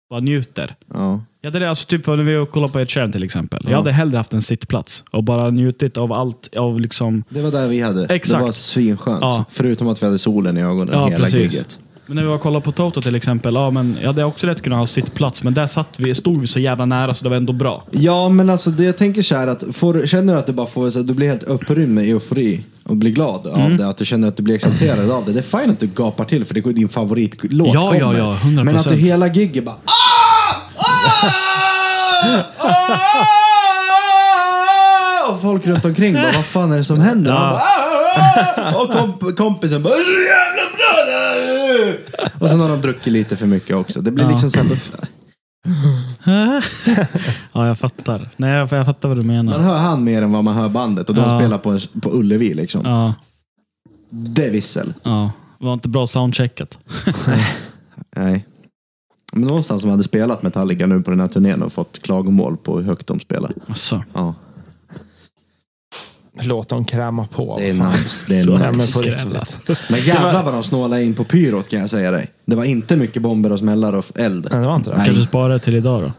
Bara njuter. Ja. Ja, det är alltså typ när vi var och kollade på Ed Sheeran till exempel. Jag Ja. hade hellre haft en sittplats och bara njutit av allt. Av liksom... Det var där vi hade. Exakt. Det var svinskönt. Ja. Förutom att vi hade solen i ögonen Ja, hela precis. gigget. Men när vi var och kollade på Toto till exempel, ja, men jag hade också lätt kunnat ha sittplats. Men där satt vi, stod vi så jävla nära så det var ändå bra. Ja, men alltså det jag tänker så här att får, känner du att du bara får, så att du blir helt upprymd med eufori och blir glad Mm. av det, att du känner att du blir exalterad av det. Det är fint att du gapar till för det är din favoritlåt Ja, kommer. ja, ja, 100%. Men att du hela gigget bara "Ah! Ah! Ah!" och folk runt omkring bara, vad fan är det som händer? Och, bara, "Ah! Ah!" och komp kompisen bara, "Är det jävla bra där?" Och sen har de druckit lite för mycket också. Det blir liksom så här, [laughs] Ja, jag fattar. Nej, jag, jag fattar vad du menar. Man hör han mer än vad man hör bandet och de Ja. spelar på, en, på Ullevi liksom. Ja, Det är vissel. ja. Var inte bra soundchecket. Nej. Men någonstans som hade spelat Metallica nu på den här turnén och fått klagomål på hur högt de spelar. Alltså. Ja. Låt dem kräma på. Det är nice. Det är Nej, nice. men på Skrävla. riktigt. Men jävlar vad de snålade in på pyrot kan jag säga dig. Det var inte mycket bomber och smällar och eld. Nej, det var inte det. Kan du Nej, spara det till idag då?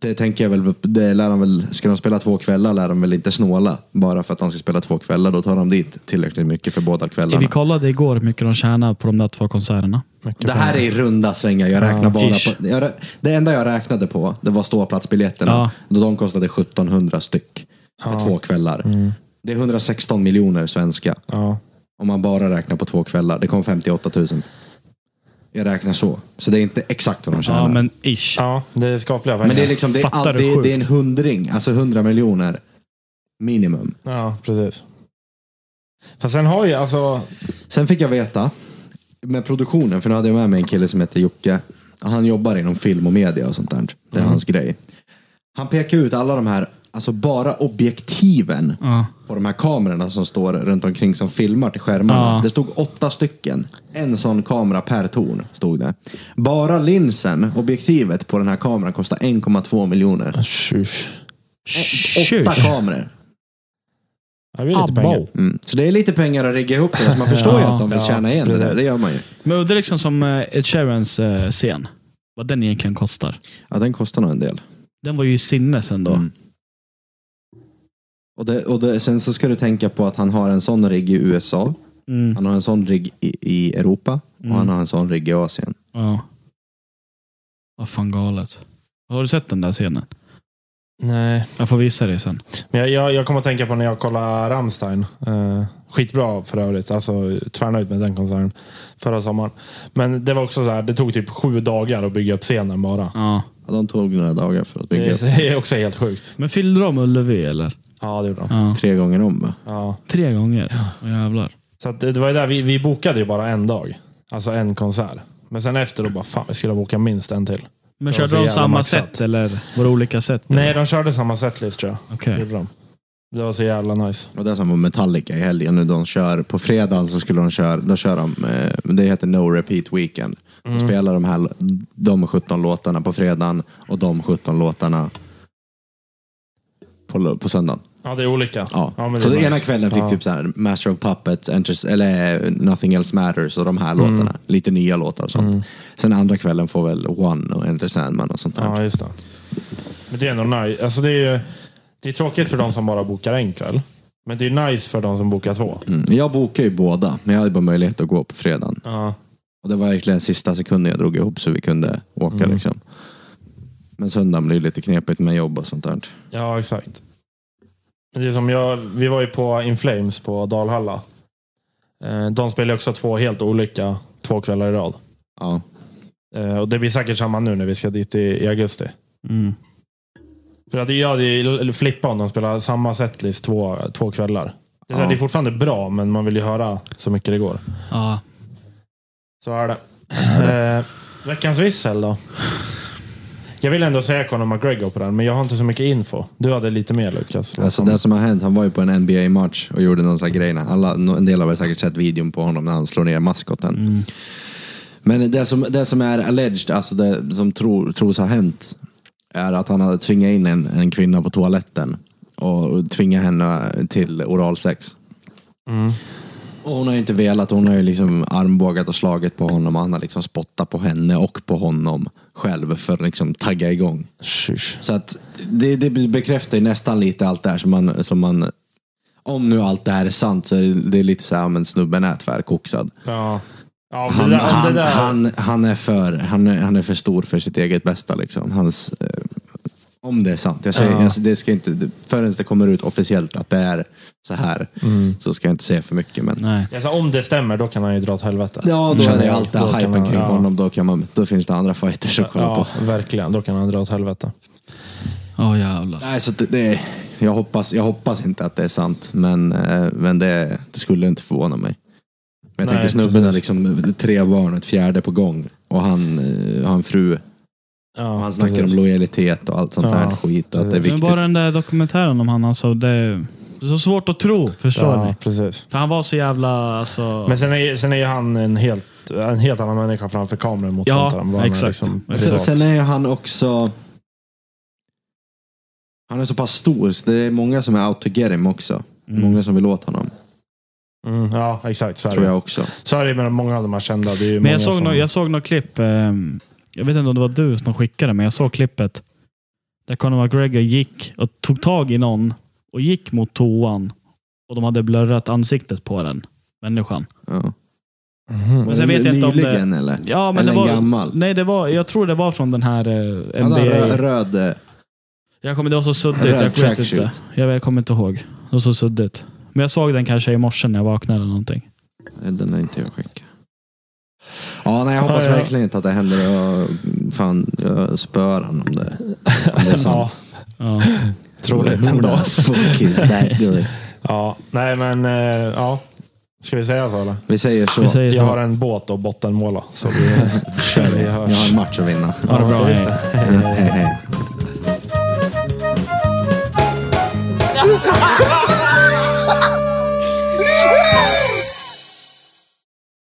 det tänker jag väl. Det lär de väl. Ska de spela två kvällar lär de väl inte snåla. Bara för att de ska spela två kvällar. Då tar de dit tillräckligt mycket för båda Vi kvällarna. kollade igår hur mycket de tjänar på de där två konserterna. Mycket Det här är i runda svängar. Jag räknar bara ish. på, jag, rä- det enda jag räknade på det var ståplatsbiljetterna. Ja. Då de kostade 1700 styck för två kvällar. Det är 116 miljoner svenska. Mm. Ja. Om man bara räknar på två kvällar. Det kom 58 000. Jag räknar så. Så det är inte exakt vad de tjänar. Ja, men, men ish. ja, det är skapliga pengar. det är liksom det är, Fattar all, du det, är, det är en sjukt? hundring. Alltså 100 miljoner minimum. Ja, precis. Fast sen har ju alltså... Sen fick jag veta med produktionen, för nu hade jag med mig en kille som heter Jocke. Han jobbar inom film och media och sånt där. Det är Mm. hans grej. Han pekar ut alla de här, alltså bara objektiven Ja. på de här kamerorna som står runt omkring som filmar till skärmarna. Ja. Det stod åtta stycken. En sån kamera per torn stod det. Bara linsen, objektivet på den här kameran kostar 1,2 miljoner. Tjus. Alltså, Åtta kameror. Ja, det är lite pengar. Mm. Så det är lite pengar att rigga ihop det. Så man förstår ju att de vill Ja, tjäna igen det där. precis. Det gör man ju. Men det är liksom som eh, Ed Sheerans eh, scen. Vad den egentligen kostar. Ja, den kostar nog en del. Den var ju sinnes ändå. Mm. Och, det, och det, sen så ska du tänka på att han har en sån rigg i USA, Mm. han har en sån rigg i, i Europa Mm. och han har en sån rigg i Asien. Ja. Vad fan galet. Har du sett den där scenen? Nej. Jag får visa dig sen. Men jag, jag, jag kommer att tänka på när jag kollade Rammstein. Eh, skitbra för övrigt. Alltså, tvärnöjd med den konserten förra sommaren. Men det var också så här, det tog typ sju dagar att bygga upp scenen bara. Ja. Ja, de tog några dagar för att bygga upp Det är [laughs] det är också helt sjukt. Men fyllde de Ullevi eller? Ja, det gjorde de. Ja. tre gånger om. va? Ja. Tre gånger? Åh, jävlar. Så att det, det var ju där, vi, vi bokade ju bara en dag. Alltså en konsert. Men sen efter då bara, fan vi skulle boka minst en till. Men Ja, så körde de jävla samma maxat. sätt eller var det olika sätt? Nej, de körde samma setlist tror jag. Okej. Gjorde de. Det var så jävla nice. Och det är som med Metallica i helgen. Nu de kör, på fredagen så skulle de köra, då kör de, eh, det heter No Repeat Weekend. Då Mm. spelar de här, de 17 låtarna på fredagen och de 17 låtarna på, lo- på söndagen. Ja, det är olika. Ja. men så är den nice. ena kvällen fick ja. typ så här Master of Puppets, Enters, eller eh, Nothing Else Matters och de Mm. här låtarna. Lite nya låtar och sånt. Sen andra kvällen får väl One och Enter Sandman och sånt där. Ja, just det. Men det är ändå nice. Alltså det är ju det är tråkigt för de som bara bokar en kväll. Men det är nice för de som bokar två. Mm. Jag bokar ju båda, men jag hade bara möjlighet att gå på fredagen. Ja. Och det var verkligen sista sekunden jag drog ihop så vi kunde åka Mm. liksom. Men söndagen blir lite knepigt med jobb och sånt där. Ja, exakt. Det är som jag, vi var ju på In Flames på Dalhalla. Eh, De spelar ju också två helt olika två kvällar i rad. Ja. Eh, Och det blir säkert samma nu när vi ska dit i, i augusti. Mm. För att jag hade ju flippat om de spelar samma setlist två, två kvällar. Det är, så här, Ja. det är fortfarande bra, men man vill ju höra så mycket det går. Ja. Så är det. Eh, veckans vissel då? Jag vill ändå säga Conor McGregor på den, men jag har inte så mycket info. Du hade lite mer Lukas. Alltså det som har hänt, han var ju på en NBA-match och gjorde någon sån här grej. när Alla, en del har väl säkert sett videon på honom när han slår ner maskoten. Men det som, det som är alleged, alltså det som tror, tros ha hänt, är att han hade tvingat in en, en kvinna på toaletten och tvingat henne till oralsex. Mm. Och hon har ju inte velat, hon har ju liksom armbågat och slagit på honom och han har liksom spottat på henne och på honom själv för att liksom tagga igång. Shush. Så att det, det bekräftar ju nästan lite allt det här som man, som man om nu allt det här är sant så är det, det är lite så här, men snubben är tvärkoksad. Ja. ja om Han, det där, om han, det där, han, han, är för, han, är, han är för stor för sitt eget bästa. Liksom. Hans, eh, om det är sant. Jag säger, Ja. alltså, det ska inte, förrän det kommer ut officiellt att det är så här så ska jag inte säga för mycket. Men, Nej. alltså, Mm. om det stämmer, då kan han ju dra åt helvete. ja, då är Känner det jag. allt det här Då kan hypen man- kring ja. honom. Då, kan man, då finns det andra fighters att kolla på. Ja, verkligen. Då kan han dra åt helvete. Åh jävlar. Nej, så det, det, jag, hoppas, jag hoppas inte att det är sant, men, eh, men det, det skulle inte förvåna mig. Men jag Nej, tänker snubben har precis. liksom tre barn och ett fjärde på gång. Och han eh, har en fru. Ja, Och han snackar precis. om lojalitet och allt sånt Ja, här skit. Och att det är precis. Men viktigt. bara den där dokumentären om han alltså. Det är det är så svårt att tro. Förstår Ja, ni? precis. För han var så jävla... Alltså... Men sen är, ju- sen är ju han en helt, en helt annan människa framför kameran mot Ja, vad han liksom är exakt. Men privat. sen, sen är ju han också... Han är så pass stor, så det är många som är out to get him också. Mm. Många som vill åt honom, Mm, ja, exakt. Så är tror det. jag också. Så är det med många av de här kända. Det är ju Men många jag såg, som... nå jag såg något klipp, ehm, jag vet inte om det var du som skickade, men jag såg klippet där Conor McGregor gick och tog tag i någon och gick mot toan och de hade blurrat ansiktet på den människan. Ja. Mhm. Mm. [laughs] Men sen vet jag inte om det- Nyligen eller? Ja, men Eller det en var, gammal? Nej, det var, jag tror det var från den här eh, Han har rö- NBA. röd... eh, Jag kommer, det var så suddigt, röd jag vet tracksuit. inte. Jag, vet- jag kommer inte ihåg. Det var så suddigt. Men jag såg den kanske i morse när jag vaknade eller någonting. Nej, Den är inte jag skickat. Ja, nej, jag hoppas Ja, ja. verkligen inte att det händer. Jag, fan, jag spör han om det. Om det är sant. Ja. Troligt Who ändå. the fuck is that guy? [laughs] Ja, nej men eh, ja. Ska vi säga så eller? Vi säger så. Vi säger Jag har så. en båt och bottenmåla. Så vi kör. Vi hörs. Jag har en match att vinna. Ha det bra. just Hej. det. Hej, hej.